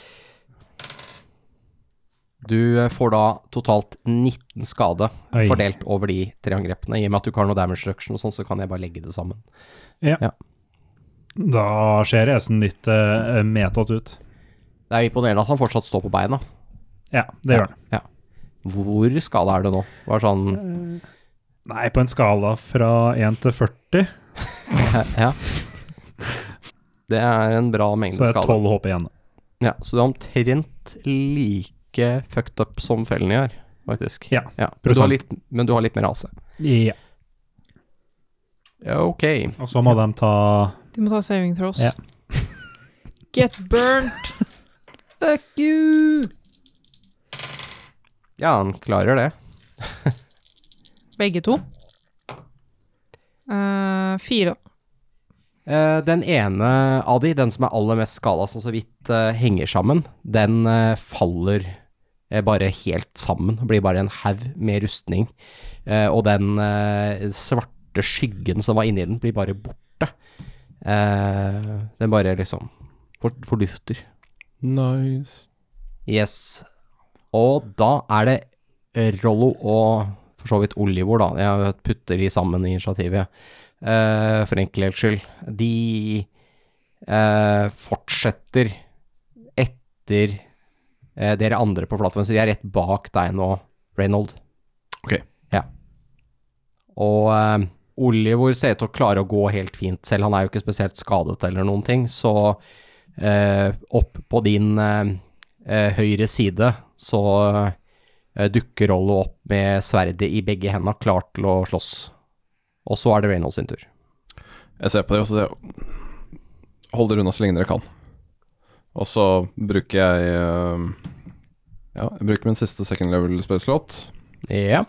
B: Du eh, får da totalt 19 skade
G: Oi.
B: fordelt over de tre angrepene. I og med at du ikke har noe damage reduction og sånn, så kan jeg bare legge det sammen.
G: Da ser esen litt uh, metat ut.
B: Det er jo imponerende at han fortsatt står på beina.
G: Ja, det gjør den.
B: Ja. Hvor skada er du nå? Bare sånn
G: Nei, på en skala fra 1 til 40, Eh.
B: Ja. Det er en bra
G: så
B: mengde
G: er
B: skade.
G: 12 HP igjen.
B: Ja, så det er omtrent like fucked up som fellene gjør, faktisk.
G: Ja,
B: men, du har
G: prosent.
B: litt, men du har litt mer AC.
G: Ja.
B: Ja, ok.
G: Og så må de ta
E: De må ta saving throws.
G: Ja.
E: [laughs] Get burnt!
H: Fuck you!
B: Ja, han klarer det.
E: Begge to. Eh, fire.
B: Eh, den ene av de, den som er aller mest skada, som så vidt eh, henger sammen, den eh, faller eh, bare helt sammen. Blir bare en haug med rustning. Eh, og den eh, svarte skyggen som var inni den, blir bare borte. Eh, den bare liksom for- fordufter.
D: Nice.
B: Yes. Og da er det eh, Rollo og for så vidt Olivor, da. Jeg putter de sammen i initiativet, eh, for enkelhets skyld. De eh, fortsetter etter eh, dere andre på plattformen, så de er rett bak deg nå, Reynold.
D: Ok.
B: Ja. Og eh, Olivor ser ut til å klare å gå helt fint selv, han er jo ikke spesielt skadet eller noen ting, så eh, opp på din eh, eh, høyre side så eh, dukker Rollo opp med sverdet i begge hendene, klar til å slåss. Og så er det Reynolds sin tur.
D: Jeg ser på det, og så ser jeg hold dere unna så lenge dere kan. Og så bruker jeg eh, Ja, jeg bruker min siste second level spillslåt.
B: Ja.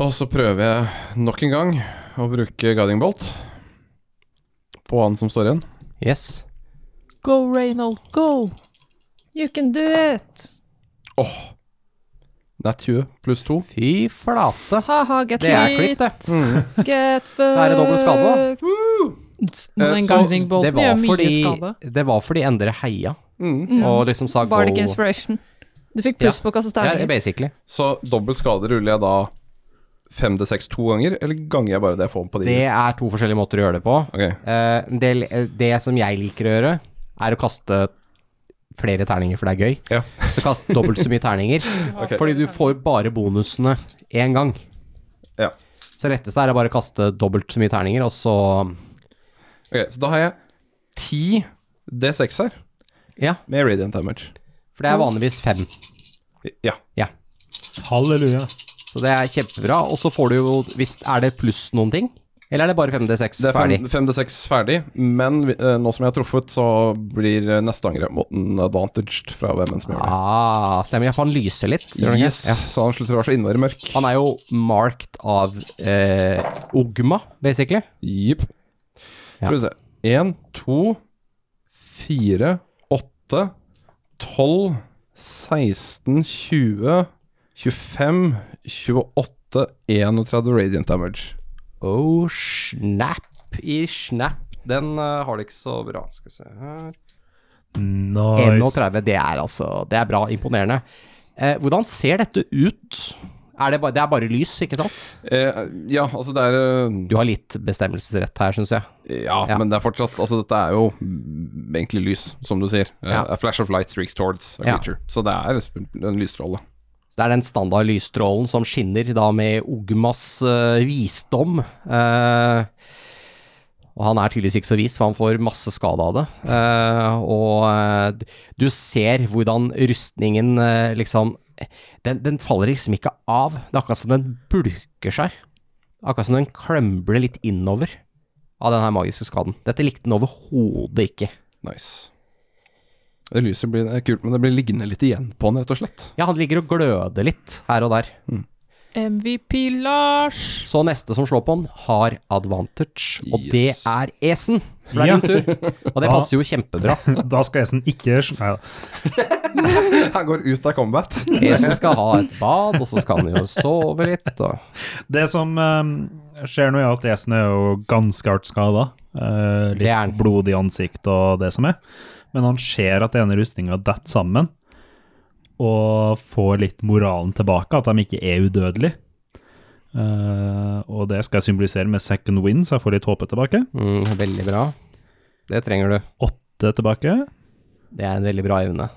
D: Og så prøver jeg nok en gang å bruke guiding bolt på han som står igjen.
B: Yes.
E: Go, Reynold, go!
C: You can do it!
D: Åh! Nat 20 pluss 2.
B: Fy flate.
C: Ha-ha, get
B: Det er
C: lit,
B: klipp, det.
D: [laughs]
C: get fucked.
B: er det dobbelt skade, da.
D: Eh,
E: Den
D: så-
E: guiding bolten
B: Det
E: gjør
B: var
E: mye
B: fordi,
E: skade. Mm.
B: det var fordi Endre heia
C: Mm.
B: og liksom sa go.
C: Bardic inspiration. Du fikk pluss
B: Ja.
C: på å kaste
B: Ja,
C: terninger.
B: basically.
D: Så dobbelt skade ruller jeg da 5D6 to ganger, eller ganger jeg bare det jeg får på de?
B: Det er to forskjellige måter å gjøre det på.
D: Ok.
B: Eh, det, det som jeg liker å gjøre, er å kaste flere terninger, for det er gøy.
D: Ja.
B: Så kast dobbelt så mye terninger.
D: [laughs] Ok.
B: Fordi du får bare bonusene én gang.
D: Ja.
B: Så det retteste er å bare kaste dobbelt så mye terninger, og så
D: ok, så da har jeg 10 D6 her,
B: Ja,
D: med radiant damage.
B: for det er vanligvis fem.
D: Ja.
B: Ja.
F: Halleluja.
B: Så det er kjempebra. Og så får du jo hvis, Er det pluss noen ting? Eller er det bare 5D6
D: Det er
B: ferdig?
D: 5D6 ferdig, men eh, nå som jeg har truffet, så blir eh, neste angrep mot en advantaged fra hvem enn som gjør det.
B: Ah, stemmer. Jeg får han lyse litt. gjør han ikke?
D: Yes, Så han slutter å være så innmari mørk.
B: Han er jo marked av eh, Ogma, basically.
D: Jepp.
B: Ja.
D: Skal vi se. Én, to, fire, åtte, tolv, 16, 20, 25, 28, 31 radiant damage.
B: Oh, snap i snap. Den eh, har det ikke så bra. Skal vi se her
F: Nice.
B: 31, det er altså Det er bra. Imponerende. Eh, hvordan ser dette ut? Er det, bare, det er bare lys, ikke sant?
D: Eh, ja, altså det er eh,
B: Du har litt bestemmelsesrett her, syns jeg.
D: ja,
B: Ja.
D: men det er fortsatt Altså, dette er jo mm, egentlig lys, som du sier. Eh,
B: Ja.
D: A flash of light streaks towards a
B: Ja.
D: creature. Så det er en lysstråle.
B: Så det er den standard lysstrålen som skinner da med Ogmas eh, visdom. Eh, og han er tydeligvis ikke så vis, for han får masse skade av det. Eh, og eh, d- du ser hvordan rustningen eh, liksom den, den faller liksom ikke av. Det er akkurat som den bulker seg. Akkurat som den klømbler litt innover av den her magiske skaden. Dette likte den overhodet ikke.
D: Nice. Det lyset blir det er kult, men det blir liggende litt igjen på den, rett og [laughs] slett.
B: Ja, han ligger og gløder litt her og der.
E: MVP Lars!
B: Så neste som slår på han, har advantage, og det
D: Yes.
B: er Esen. For det
F: Ja.
B: er din tur. Og det
F: Ja.
B: passer jo kjempebra.
G: [laughs]
F: Da skal Esen ikke Nei da.
D: Han går ut av combat. [laughs]
B: Esen skal ha et bad, og så skal han jo sove litt. Og...
F: Det som eh, skjer nå, er at Esen er jo ganske hardt skada.
B: Det er
F: litt
B: han.
F: blodig ansikt og det som er. Men han ser at ene rustninga detter sammen, og får litt moralen tilbake, at de ikke er udødelige. Eh, og det skal jeg symbolisere med second win, så jeg får litt håpet tilbake.
B: Mm, veldig bra. Det trenger du.
F: Åtte tilbake.
B: Det er en veldig bra evne.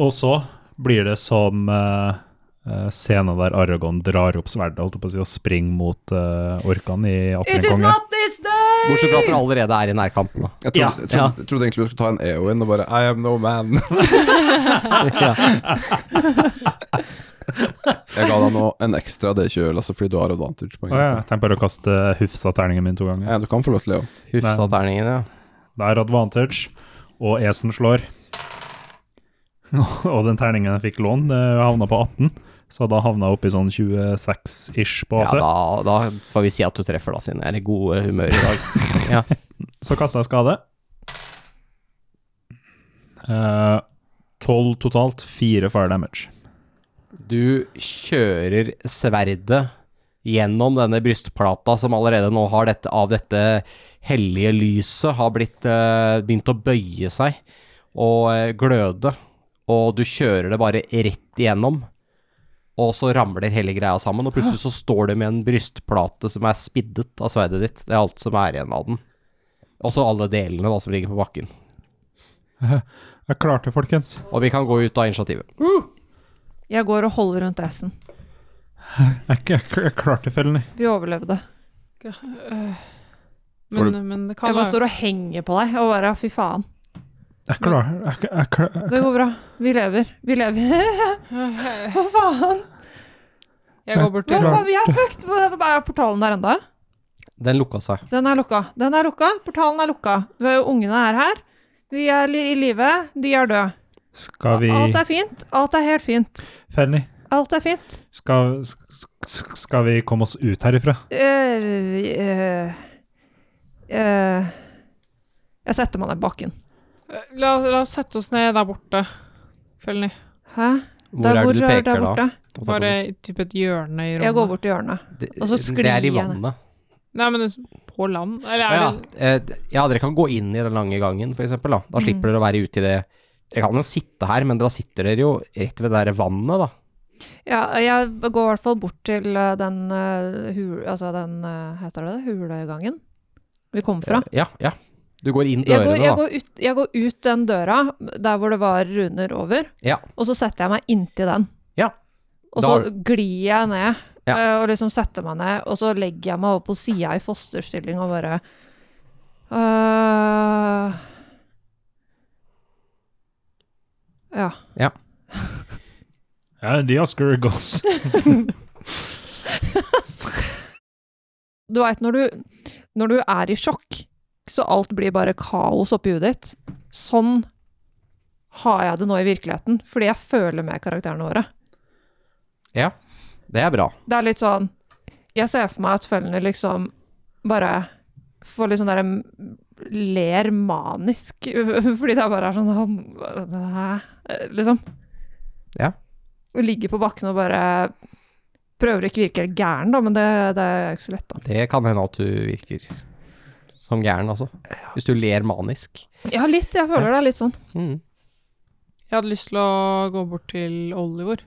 F: Og så blir det som eh, eh, scenen der Aragon drar opp sverdet holdt jeg på å si, og springer mot uh, orkene i
C: It is
F: Atrenkongen.
C: not this day!
B: Bortsett fra at dere allerede er i nærkampen. da.
D: Jeg trodde,
F: Ja.
D: jeg trodde, jeg trodde egentlig du skulle ta en Eowyn og bare I am no
F: [laughs]
D: man. [laughs] jeg ga deg nå en ekstra D20, Lasse, fordi du har advantage på en
F: Å ja, jeg tenker bare å kaste hufsa terningen min to ganger.
D: Ja, du kan få lov til det òg.
B: Huff, sa
F: Men-
B: terningen, ja.
F: Det er advantage, og Esen slår. [laughs] og den terningen jeg fikk lånt, havna på 18, så da havna jeg oppi sånn 26-ish på
B: ja
F: AC.
B: da, da får vi si at du treffer, da, siden jeg er i gode humør i dag. Ja.
F: så kasta jeg skade. Eh, 12 totalt, 4 fire damage.
B: Du kjører sverdet gjennom denne brystplata som allerede nå har dette, av dette hellige lyset, har blitt, eh, begynt å bøye seg og eh, gløde. Og du kjører det bare rett igjennom, og så ramler hele greia sammen. Og plutselig så står du med en brystplate som er spiddet av sverdet ditt. Det er alt som er igjen av den. Og så alle delene da, som ligger på bakken.
F: Jeg klarte det, folkens.
B: Og vi kan gå ut av initiativet.
C: Jeg går og holder rundt S-en.
F: Jeg, jeg, jeg klarte fellen. jeg.
C: Vi overlevde.
E: Eh, Men, men det kan
C: Jeg bare
E: være
C: står og henger på deg og bare fy faen.
F: Jeg klar, jeg, jeg, jeg, klar-
C: Det går bra. Vi lever. Vi lever. [laughs] Hva faen?
E: [laughs] Jeg går bort til
C: Hva faen? Vi er fucked! Hva- hva Er portalen der enda?
B: Den lukka seg.
C: Den er lukka. Den er lukka. Portalen er lukka. Vi er- Ungene er her. Vi er li- i live. De er døde.
F: Skal vi
C: Alt er fint. Alt er helt fint.
F: Fanny,
C: Alt er fint.
F: skal, sk- skal vi komme oss ut herifra?
C: Eh, eh, eh. jeg setter meg ned på bakken.
E: La, la oss sette oss ned der borte, Følg ned.
C: Hæ?
B: Hvor
C: Der
B: er det du
C: hvor- der
B: peker da? Holdt
C: borte.
B: jeg på å
E: Bare
B: si.
E: i typ et hjørne i rommet.
C: Jeg går bort til hjørnet.
B: Det,
C: og så
B: det er i
C: sklir jeg ned.
B: vannet.
E: Nei, men det er på land? Eller
B: Å
E: er
B: ja,
E: det
B: eh, d- ja, dere kan gå inn i den lange gangen, for eksempel. Da,
C: Mm.
B: da slipper dere å være ute i det Dere kan jo sitte her, men da sitter dere jo rett ved det der vannet, da.
C: Ja, jeg går i hvert fall bort til eh, den eh, hul... Altså den eh, Heter det det? Hulegangen? Vi kom fra.
B: Eh, Ja, ja. Du går inn
C: Jeg går,
B: dørene,
C: jeg,
B: da.
C: går ut, jeg går ut den døra, der hvor det var runer over,
B: Ja.
C: og så setter jeg meg inntil den.
B: Ja.
C: Og så
B: Da-
C: glir jeg ned,
B: Ja.
C: eh, og liksom setter meg ned, og så legger jeg meg over på sida i fosterstilling og bare øh, Ja.
F: Ja, The Oscar goes.
C: du veit når, du- når du er i sjokk, så alt blir bare kaos oppi huet ditt. Sånn har jeg det nå i virkeligheten, fordi jeg føler med karakterene våre.
B: Det er bra.
C: Det er litt sånn Jeg ser for meg at følgende liksom bare får litt sånn derre Ler manisk, [laughs] fordi det bare er sånn han- Hæ? Liksom.
B: Ja.
C: Og ligger på bakken og bare Prøver å ikke virke helt gæren, da, men det, det er jo ikke så lett, da.
B: Det kan hende at du virker som gæren, altså. Hvis du ler manisk.
C: Ja, litt. Jeg føler det er litt sånn.
B: Mm.
E: Jeg hadde lyst til å gå bort til Oliver.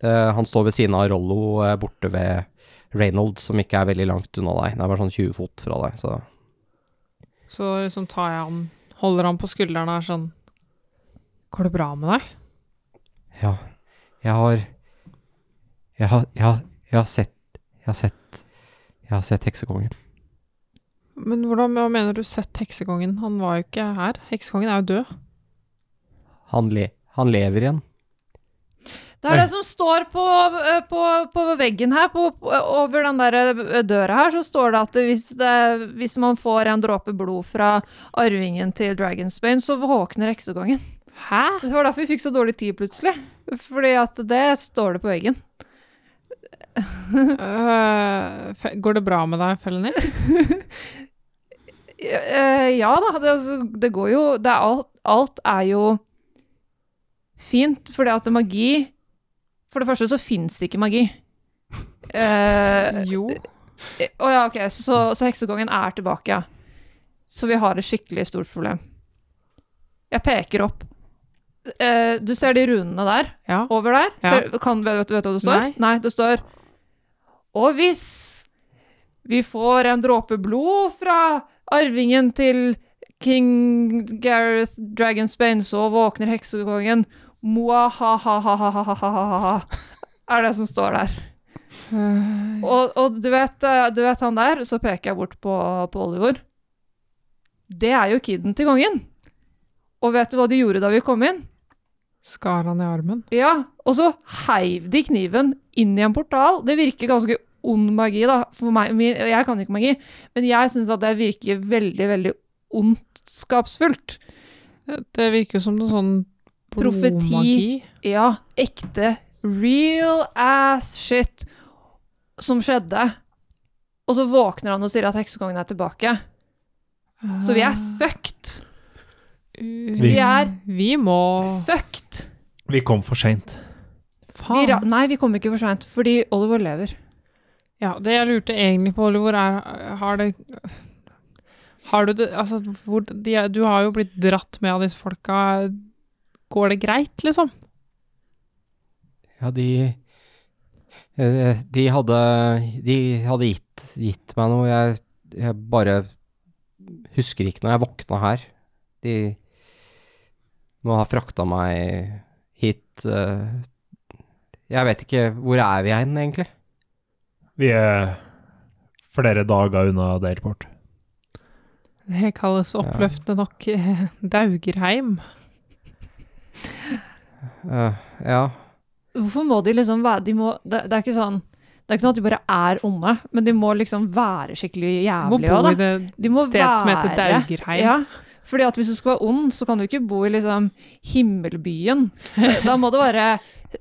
B: Eh, han står ved siden av Rollo eh, borte ved Reynold, som ikke er veldig langt unna deg. Det er bare sånn 20 fot fra deg, så
E: Så liksom tar jeg han, holder han på skulderen og er sånn Går det bra med deg?
B: Ja, jeg har Jeg har, jeg har, jeg har sett Jeg har sett Jeg har sett Heksekongen.
E: Men hvordan hva mener du sett heksekongen? Han var jo ikke her. Heksekongen er jo død.
B: Han, le, han lever igjen.
C: Det er det som står på, eh, på, på veggen her, på, på- over den der eh, døra her, så står det at det- hvis, det, hvis man får en dråpe blod fra arvingen til Dragonsbane, så våkner heksekongen.
E: Hæ?
C: Det var derfor vi fikk så dårlig tid plutselig. Fordi at det står det på veggen.
E: Øh, går det bra med deg, Felny?
C: Eh, Ja da, det, altså, det går jo det er alt, alt er jo fint, fordi at magi For det første så fins ikke magi. Eh,
E: Jo.
C: Å ja, ok. Så, så, så heksekongen er tilbake, ja. Så vi har et skikkelig stort problem. Jeg peker opp. Eh, du ser de runene der?
E: Ja.
C: Over der?
E: Ja.
C: Ser, kan, vet, vet du hva det står?
E: Nei.
C: det står Og hvis vi får en dråpe blod fra arvingen til King Gareth Dragonsbane, så våkner heksekongen. Moa-ha-ha-ha-ha-ha-ha. Er det som står der.
E: Eh,
C: Og, og du, vet, eh, du vet han der, så peker jeg bort på, på Oliver. Det er jo kiden til kongen. Og vet du hva de gjorde da vi kom inn?
E: skar han i armen?
C: Ja, og så heiv de kniven inn i en portal. Det virker ganske ond magi, da. For meg, min, jeg kan ikke magi, men jeg syns at det virker veldig, veldig ondskapsfullt.
E: Det, det virker jo som noe sånn
C: Profeti.
E: blodmagi.
C: Ja, ekte real ass shit som skjedde. Og så våkner han og sier at heksekongen er tilbake. Så vi er
E: Øh.
C: fucked.
E: Vi
C: er-
E: Vi må
C: Fucked!
F: Vi kom for seint.
C: Vi ra
E: Faen.
C: nei, vi kom ikke for seint, fordi Oliver lever.
E: Ja, det jeg lurte egentlig på, Oliver, er Har det Har du det Altså, hvor, de, er- du har jo blitt dratt med av disse folka. Går det greit, liksom?
B: Ja, de eh, De hadde De hadde gitt, gitt meg noe. Jeg, jeg bare husker ikke når jeg våkna her. De må ha frakta meg hit eh, Jeg vet ikke Hvor er vi hen, egentlig?
F: Vi er flere dager unna Daleport.
E: Det kalles oppløftende nok eh, Daugerheim.
B: Eh, ja. Eh,
C: Hvorfor må de liksom være de må, det, det er ikke sånn Det er ikke sånn at de bare er onde, men de må liksom være skikkelig
E: Du må
C: jævlige
E: bo
C: òg,
E: i
C: da.
E: det
C: De må
E: stedet som heter
C: være
E: Daugerheim.
C: Ja, fordi at hvis du skal være ond, så kan du ikke bo i liksom himmelbyen. Da må det være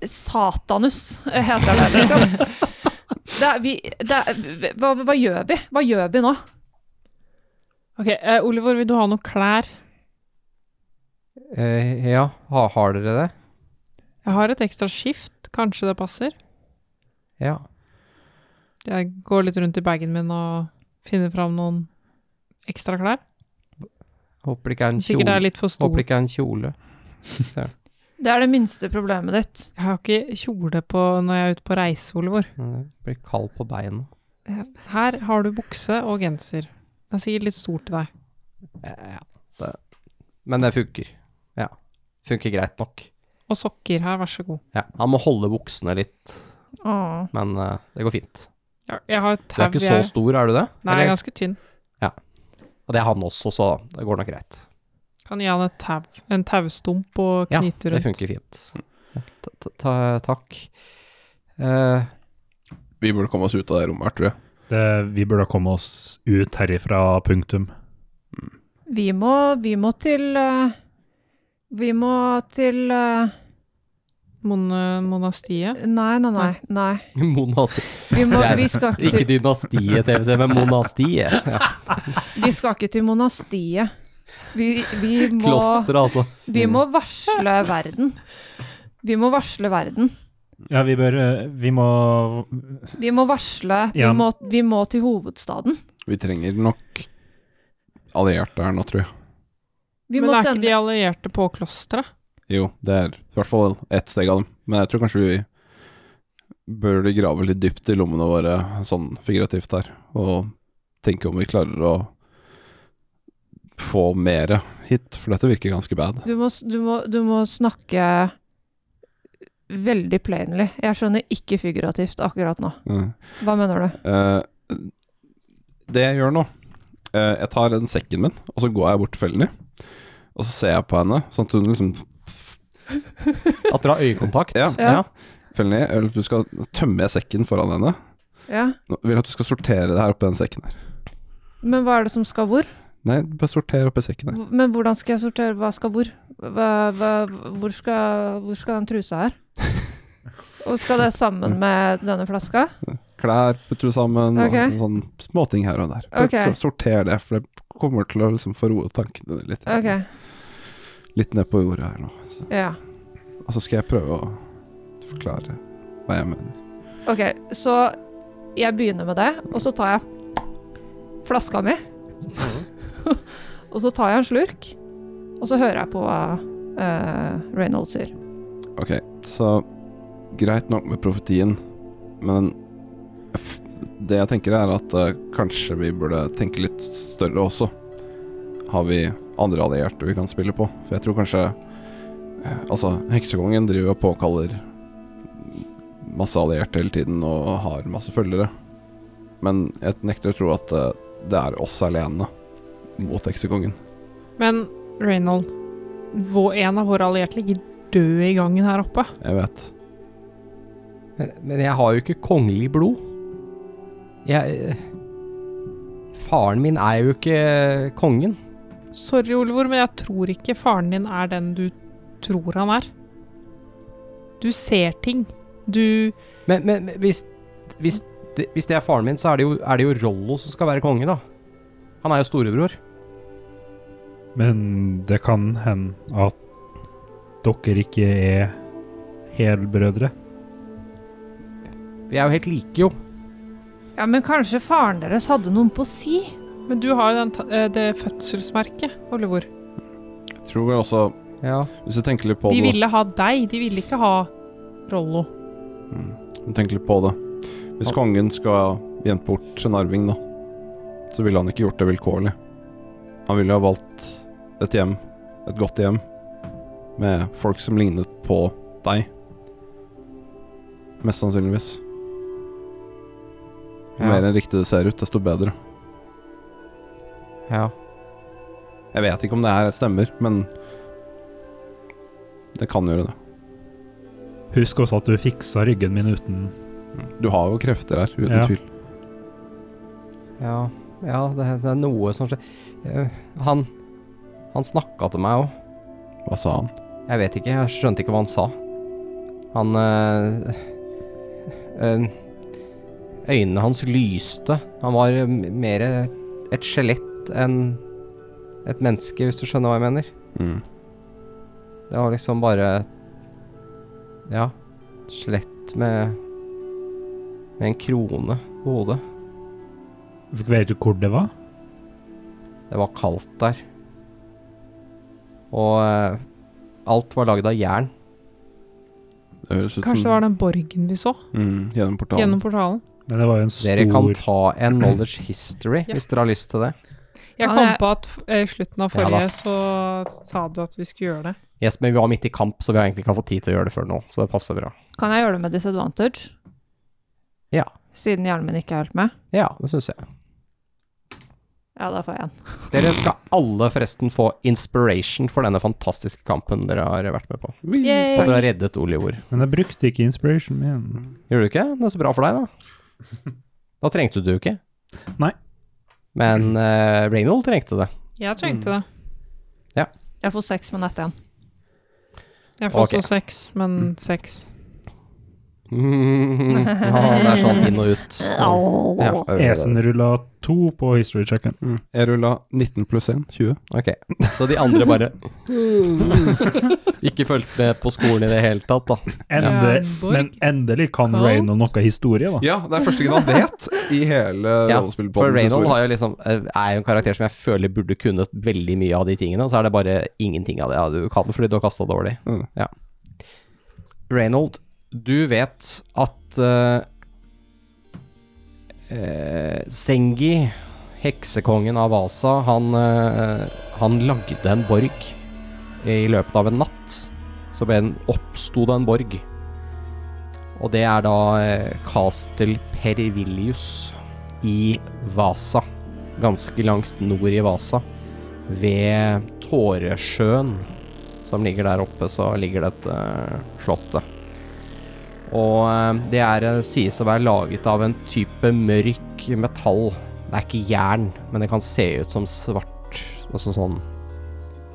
C: Satanus, heter det liksom. Det er, vi, det er, hva, hva gjør vi? Hva gjør vi nå?
E: Ok, eh, Oliver, vil du ha noen klær?
B: Eh, ja, ha, har dere det?
E: Jeg har et ekstra skift, kanskje det passer?
B: Ja.
E: Jeg går litt rundt i bagen min og finner fram noen ekstra klær.
B: Håper det ikke er en
E: Sikkert det
B: kjole.
E: er litt for stor.
B: Håper det ikke er en kjole.
C: Det er det minste problemet ditt.
E: Jeg har ikke kjole på når jeg er ute på reise, Oliver.
B: Det blir kald på beina.
E: Her har du bukse og genser. Det er sikkert litt stort til deg.
B: Eh, Ja, det. Men det funker. Ja. Funker greit nok.
E: Og sokker her, vær så god.
B: Ja, han må holde buksene litt,
C: Åh.
B: men eh, det går fint.
E: Jeg, jeg har et
B: Du er
E: tau.
B: ikke så
E: jeg-
B: stor, er du det?
E: Nei, jeg er
B: Eller-
E: ganske tynn.
B: Og det er han også, så det går nok greit.
E: Kan gi han et tau. En taustump og
B: Ja,
E: knyte
B: det
E: rundt.
B: funker fint. Ta, ta, ta, takk. Eh, [laughs]
D: Vi burde komme oss ut av det rommet her, tror jeg.
F: Det, vi burde komme oss ut herifra, punktum.
C: Vi må, vi må til eh, Vi må til eh,
E: Mon monastiet.
C: Nei, nei, nei. nei.
B: monasti...
C: Vi, må,
B: Det er-
C: vi, skal ikke
B: Ikke
C: til,
B: dynastiet TVC, men monastiet. Ja,
C: vi skal ikke til monastiet. Vi, vi, må,
B: Kloster, altså.
C: vi må varsle verden. Vi må varsle verden.
F: Ja, vi bør eh, Vi må
C: Vi må varsle Vi,
F: Ja.
C: må, vi må til hovedstaden.
D: Vi trenger nok allierte her nå, tror jeg.
C: Vi
E: Men
C: må
E: er ikke de
C: sende
E: allierte på klosteret?
D: Jo, det er i hvert fall ett steg av dem. Men jeg tror kanskje vi bør grave litt dypt i lommene våre, sånn figurativt her, og tenke om vi klarer å få mere hit, for dette virker ganske bad.
C: du må, s- du, må, du må snakke veldig plainly. Jeg skjønner ikke figurativt akkurat nå.
D: Mm.
C: Hva mener du?
D: Eh, det jeg gjør nå eh, Jeg tar den sekken min, og så går jeg bort til Felny. Og så ser jeg på henne, sånn at hun liksom
B: At dere har øyekontakt.
D: Ja.
B: ja.
D: Felny, jeg vil at du skal tømme sekken foran henne.
C: Ja.
D: Nå vil jeg at du skal sortere det her oppi den sekken her.
C: Men hva er det som skal hvor?
D: Nei, bare sorter oppi sekken her.
C: Hvor- Men hvordan skal jeg sortere hva skal hvor? Hva, hva, hvor, skal, hvor skal den trusa her? Og skal det sammen med denne flaska?
D: Klær putter du sammen,
C: Ok.
D: og sånn småting her og der.
C: Ok.
D: Så sorter det, for det kommer til å liksom få roet tankene dine litt.
C: Ok,
D: Litt ned på jordet her nå. Så.
C: ja.
D: Og så skal jeg prøve å forklare hva jeg mener.
C: Ok, så jeg begynner med det, og så tar jeg flaska mi. Mhm. [laughs] og så tar jeg en slurk, og så hører jeg på hva eh, Reynolds sier.
D: Ok, så greit nok med profetien, men f- det jeg tenker er at eh, kanskje vi burde tenke litt større også. Har vi andre allierte vi kan spille på? For jeg tror kanskje eh, Altså, heksekongen driver og påkaller masse allierte hele tiden og har masse følgere. Men jeg nekter å tro at eh, det er oss alene mot heksekongen.
E: Men Reynold, vår, en av våre allierte ligger død i gangen her oppe.
D: Jeg vet.
B: Men, men jeg har jo ikke kongelig blod. Jeg eh, Faren min er jo ikke kongen.
E: Sorry, Olivor, men jeg tror ikke faren din er den du tror han er. Du ser ting. Du
B: Men, men men hvis, hvis, det, hvis det er faren min, så er det, jo, er det jo Rollo som skal være konge, da. Han er jo storebror.
F: Men det kan hende at dere ikke er helbrødre.
B: Vi er jo helt like, jo.
C: Ja, men kanskje faren deres hadde noen på si?
E: Men du har jo den, ta- eh, det fødselsmerket, Olivor.
D: Jeg tror vel også,
B: Ja.
D: hvis du tenker litt på
E: De
D: det da-
E: ville ha deg, de ville ikke ha Rollo.
D: Men Mm. Tenk litt på det. Hvis
B: Ja.
D: kongen skal jente bort en arving, da, så ville han ikke gjort det vilkårlig. Han ville ha valgt et hjem, et godt hjem, med folk som lignet på deg. Mest sannsynligvis. Jo
B: Ja.
D: mer enn riktig det ser ut, desto bedre.
B: ja.
D: Jeg vet ikke om det her stemmer, men det kan gjøre det.
F: Husk også at du fiksa ryggen min uten
D: Du har jo krefter her, uten
F: Ja.
D: tvil.
B: Ja, ja det, det er noe som skjer. Eh, Han Han snakka til meg òg.
D: Hva sa han?
B: Jeg vet ikke. Jeg skjønte ikke hva han sa. Han eh, eh, Øynene hans lyste. Han var eh, mer et skjelett enn et menneske, hvis du skjønner hva jeg mener.
D: Mm.
B: Det var liksom bare Ja, skjelett med Med en krone på hodet.
F: Vet du hvor det var?
B: Det var kaldt der. Og eh, alt var lagd av jern.
D: Det høres ut
E: Kanskje det
D: som
E: var den borgen vi så
D: mm, Gjennom portalen.
E: gjennom portalen.
F: Men det var jo en stor
B: Dere kan ta en knowledge history
E: Ja.
B: hvis dere har lyst til det.
E: Jeg
C: Ja,
E: kom
C: det-
E: på at f- eh, i slutten av
B: Ja da.
E: forrige så sa du at vi skulle gjøre det.
B: Yes, men vi var midt i kamp, så vi har egentlig ikke fått tid til å gjøre det før nå, så det passer bra.
C: Kan jeg gjøre det med disadvantage?
B: Ja.
C: Siden hjernen min ikke er helt med?
B: Ja, det syns jeg.
C: Ja, da får jeg en.
B: Dere skal alle forresten få inspiration for denne fantastiske kampen dere har vært med på.
C: Yay.
B: Og dere har reddet Oliver.
F: Men jeg brukte ikke inspiration min.
B: Gjorde du ikke? Det er så bra for deg, da. Da trengte du ikke.
F: Nei.
B: Men uh, Reynold trengte det. [laughs]
E: Jeg
B: Mm.
E: trengte det.
C: Jeg får seks med nett igjen.
E: Jeg får
B: Ok.
E: også seks, men seks.
B: Mm, ja, det er sånn inn og ut. Ja,
F: Esen rulla to på history checken.
D: Mm. Jeg rulla 19 pluss 1, 20.
B: Ok, så de andre bare [laughs] Ikke fulgt med på skolen i det hele tatt, da.
F: Ende,
E: Jernborg.
F: men endelig kan
E: Kaldt.
F: Reynold noe historie,
B: [laughs]
F: da.
D: Ja, det er første gang han vet i hele
B: Ja, For
D: rollespillpodens
B: Reynold
D: historie.
B: har jo liksom, eh, er jo en karakter som jeg føler burde kunnet veldig mye av de tingene, og så er det bare ingenting av det ja, du kan fordi du har kasta dårlig.
D: Mm.
B: Ja. Reynold, du vet at eh, eh, Zengi, heksekongen av Vasa, han, eh, han lagde en borg i løpet av en natt. Så ble den, oppsto det en borg. Og det er da eh, Castel Perivillius i Vasa. Ganske langt nord i Vasa. Ved Tåresjøen, som ligger der oppe, så ligger dette slottet. Og eh, det er, eh, sies å være laget av en type mørk metall. Det er ikke jern, men det kan se ut som svart, altså sånn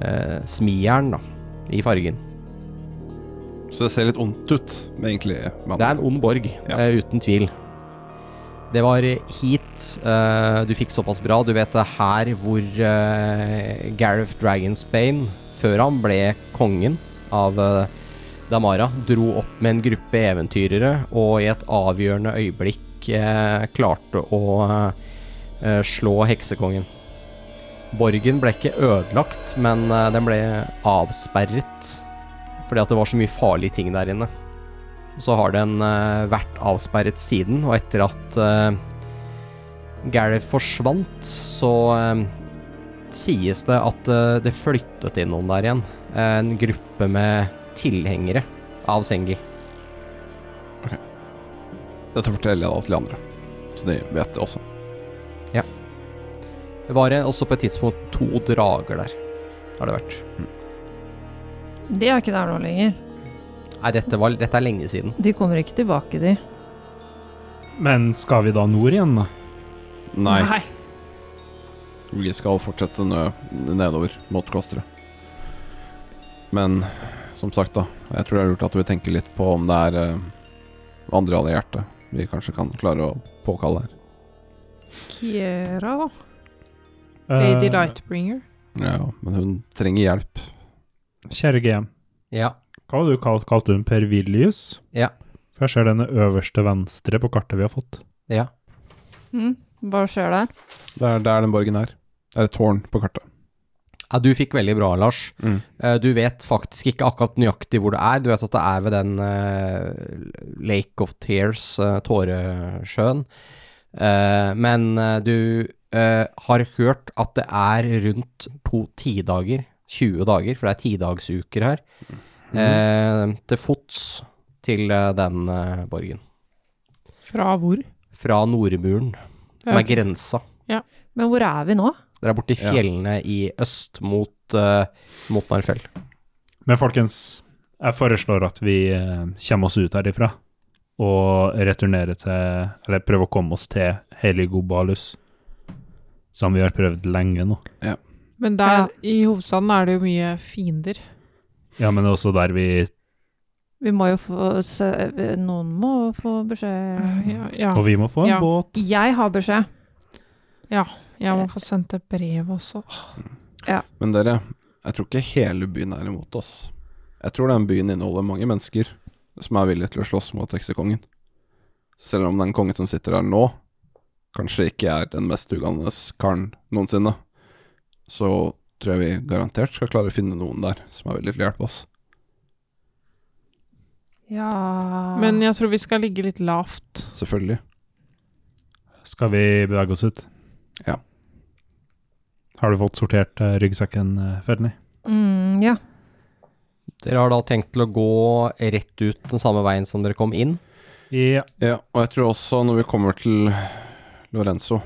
B: eh, smijern, da, i fargen.
D: Så det ser litt ondt ut, men egentlig. Men
B: Det er en ond borg,
D: Ja.
B: eh, uten tvil. Det var hit eh, du fikk såpass bra. Du vet det er her hvor eh, Gareth Dragonsbane, før han ble kongen av eh, Damara, dro opp med en gruppe eventyrere og i et avgjørende øyeblikk eh, klarte å eh, eh, slå heksekongen. Borgen ble ikke ødelagt, men eh, den ble avsperret fordi at det var så mye farlige ting der inne så har den eh, vært avsperret siden, og etter at uh, Gareth forsvant, så eh, sies det at eh, det flyttet inn noen der igjen. En gruppe med tilhengere av Sengi.
D: Dette forteller jeg da til de andre, så de vet det også.
B: Det var eh, også på et tidspunkt to drager der, har det vært.
C: De er ikke der nå lenger.
B: Nei, dette, var, dette er lenge siden.
C: De kommer ikke tilbake, de.
F: Men skal vi da nord igjen, da?
D: Nei, vi skal fortsette nø nedover mot klosteret. Men som sagt, da. Jeg tror det er lurt at vi tenker litt på om det er eh, andre allierte vi kanskje kan klare å påkalle her.
E: Kiera, da.
F: Eh,
E: Lady Lightbringer.
D: Ja, men hun trenger hjelp.
F: Kjære GM,
B: Ja.
F: hva var det du kalt, kalte hun Pervilius?
B: Ja.
F: For jeg ser denne øverste venstre på kartet vi har fått.
B: ja.
C: Mm. Hva skjer der?
D: Det er der den borgen er. Det er et tårn på kartet.
B: Ja, du fikk veldig bra, Lars.
D: Mm.
B: Eh, Du vet faktisk ikke akkurat nøyaktig hvor det er. Du vet at det er ved den eh, Lake of Tears, eh, Tåresjøen. Eh, men eh, du eh, har hørt at det er rundt to tidager, 20 dager, for det er tidagsuker her,
D: Mm.
B: eh, til fots til eh, den eh, borgen.
E: Fra hvor?
B: Fra Nordmuren, som
E: Ja.
B: er grensa.
C: Men hvor er vi nå?
B: Dere er borti
D: Ja.
B: fjellene i øst mot, eh, mot Narfjell.
F: Men folkens, jeg foreslår at vi eh, kommer oss ut herifra. og returnere til Eller prøve å komme oss til Heligobalus, som vi har prøvd lenge nå.
E: Men der i hovedstaden er det jo mye fiender.
F: Ja, men også der vi
C: Vi må jo få se, Noen må få beskjed.
E: Ja, ja.
F: Og vi må få en
E: Ja.
F: båt.
C: Mm. Jeg har beskjed.
E: Jeg må få sendt et brev også.
D: Men dere, jeg tror ikke hele byen er imot oss. Jeg tror den byen inneholder mange mennesker som er villige til å slåss mot heksekongen. Selv om den kongen som sitter her nå, kanskje ikke er den mest ugande karen noensinne, så tror jeg vi garantert skal klare å finne noen der som er villig til å hjelpe oss.
C: Ja
E: Men jeg tror vi skal ligge litt lavt.
D: Selvfølgelig.
F: Skal vi bevege oss ut?
D: Ja.
F: Har du fått sortert eh, ryggsekken, eh, Fernie?
C: mm, Ja.
B: Dere har da tenkt til å gå rett ut den samme veien som dere kom inn.
F: Ja.
D: Ja, og jeg tror også når vi kommer til Lorenzo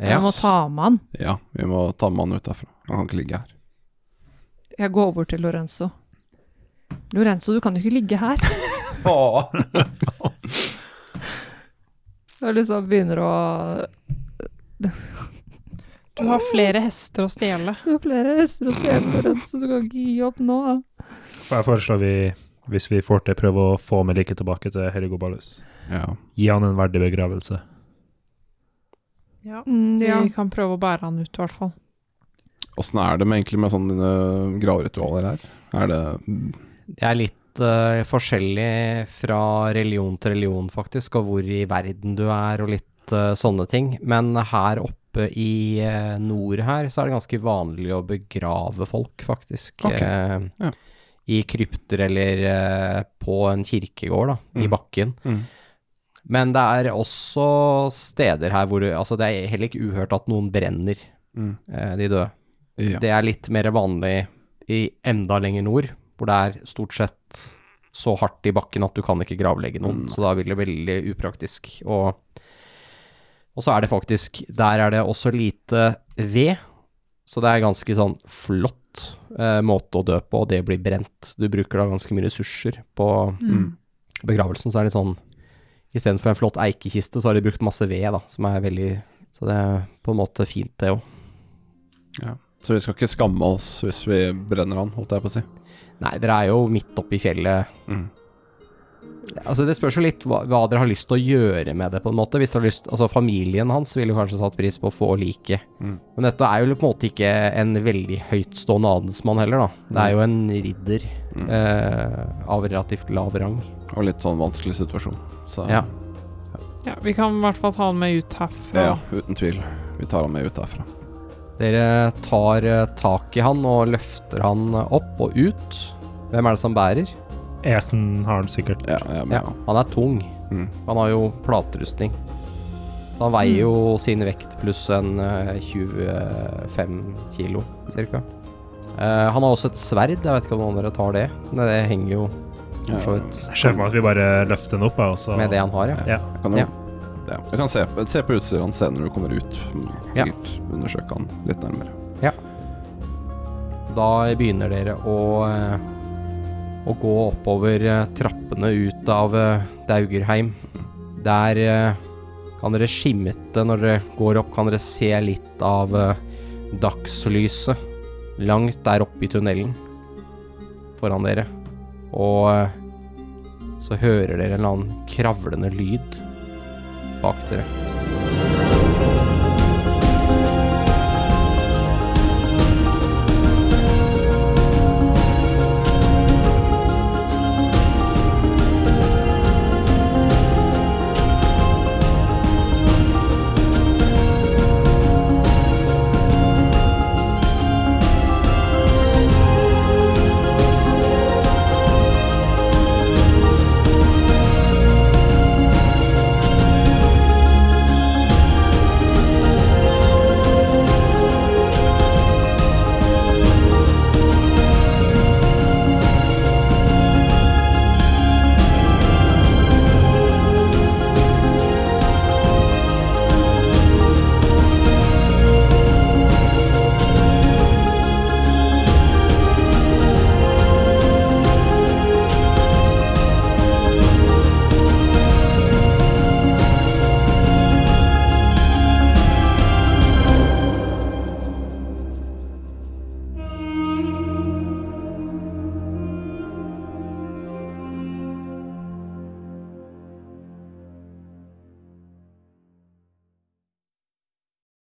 B: Ja.
C: Jeg må ta med han.
D: Ja, vi må ta med han ut derfra. Han kan ikke ligge her.
C: Jeg går bort til Lorenzo. Lorenzo, du kan jo ikke ligge her. [laughs] Jeg liksom begynner å
E: Du har flere hester å stjele.
C: Du har flere hester å se på, Lorenzo. Du kan ikke gi opp nå.
F: For jeg foreslår vi, hvis vi får til, prøve å få med liket tilbake til Heligobalus.
D: Ja.
F: Gi han en verdig begravelse.
C: Mm, ja.
E: Vi kan prøve å bære han ut, i hvert fall.
D: Åssen er det med egentlig med sånne øh, gravritualer her? Er det
B: Det er litt eh, forskjellig fra religion til religion, faktisk, og hvor i verden du er, og litt eh, sånne ting. Men her oppe i eh, nord her, så er det ganske vanlig å begrave folk, faktisk.
D: Ok,
B: eh,
D: ja.
B: I krypter eller eh, på en kirkegård, da, i
D: Mm.
B: bakken.
D: Mm.
B: Men det er også steder her hvor du Altså, det er heller ikke uhørt at noen brenner,
D: Mm.
B: eh, de døde.
D: Ja.
B: Det er litt mer vanlig i enda lenger nord, hvor det er stort sett så hardt i bakken at du kan ikke gravlegge noen, så da blir det veldig upraktisk. Og, og så er det faktisk Der er det også lite ved, så det er ganske sånn flott eh, måte å dø på, og det blir brent. Du bruker da ganske mye ressurser på
C: Mm.
B: begravelsen, så er det litt sånn Istedenfor en flott eikekiste, så har de brukt masse ved, da, som er veldig Så det er på en måte fint, det òg.
D: Så vi skal ikke skamme oss hvis vi brenner han, holdt jeg på å si.
B: Nei, dere er jo midt oppe i fjellet.
D: Mm.
B: Altså, Det spørs jo litt hva, hva dere har lyst til å gjøre med det, på en måte. Hvis dere har lyst, altså Familien hans ville jo kanskje satt pris på å få liket.
D: Mm.
B: Men dette er jo på en måte ikke en veldig høytstående adelsmann heller, da. Det er jo en ridder
D: Mm.
B: eh, av relativt lav rang.
D: Og litt sånn vanskelig situasjon. Så
B: Ja.
E: Ja, vi kan i hvert fall ta han med ut herfra.
D: ja, uten tvil. Vi tar han med ut derfra.
B: Dere tar eh, tak i han og løfter han opp og ut. Hvem er det som bærer?
F: Esen har han sikkert.
D: Ja, jeg er med.
B: Ja, han er tung.
D: Mm.
B: Han har jo platerustning. Så han veier jo sin vekt pluss en eh, 25 kilo, cirka. Eh, han har også et sverd, jeg vet ikke om noen av dere tar det. Men det henger jo
D: Ja,
B: for så vidt
F: Jeg ser for meg at vi bare løfter den opp, jeg, og så
B: med det han har, ja.
F: Ja.
D: Jeg kan jo
B: Ja.
D: ja. Jeg kan se, på- se på utstyret hans senere når du kommer ut. Mm,
B: Ja.
D: Sikkert undersøke han litt nærmere.
B: Da begynner dere å, eh, å gå oppover eh, trappene ut av eh, Daugerheim. Der eh, kan dere skimte Når dere går opp, kan dere se litt av eh, dagslyset langt der oppe i tunnelen foran dere. Og eh, så hører dere en eller annen kravlende lyd bak dere.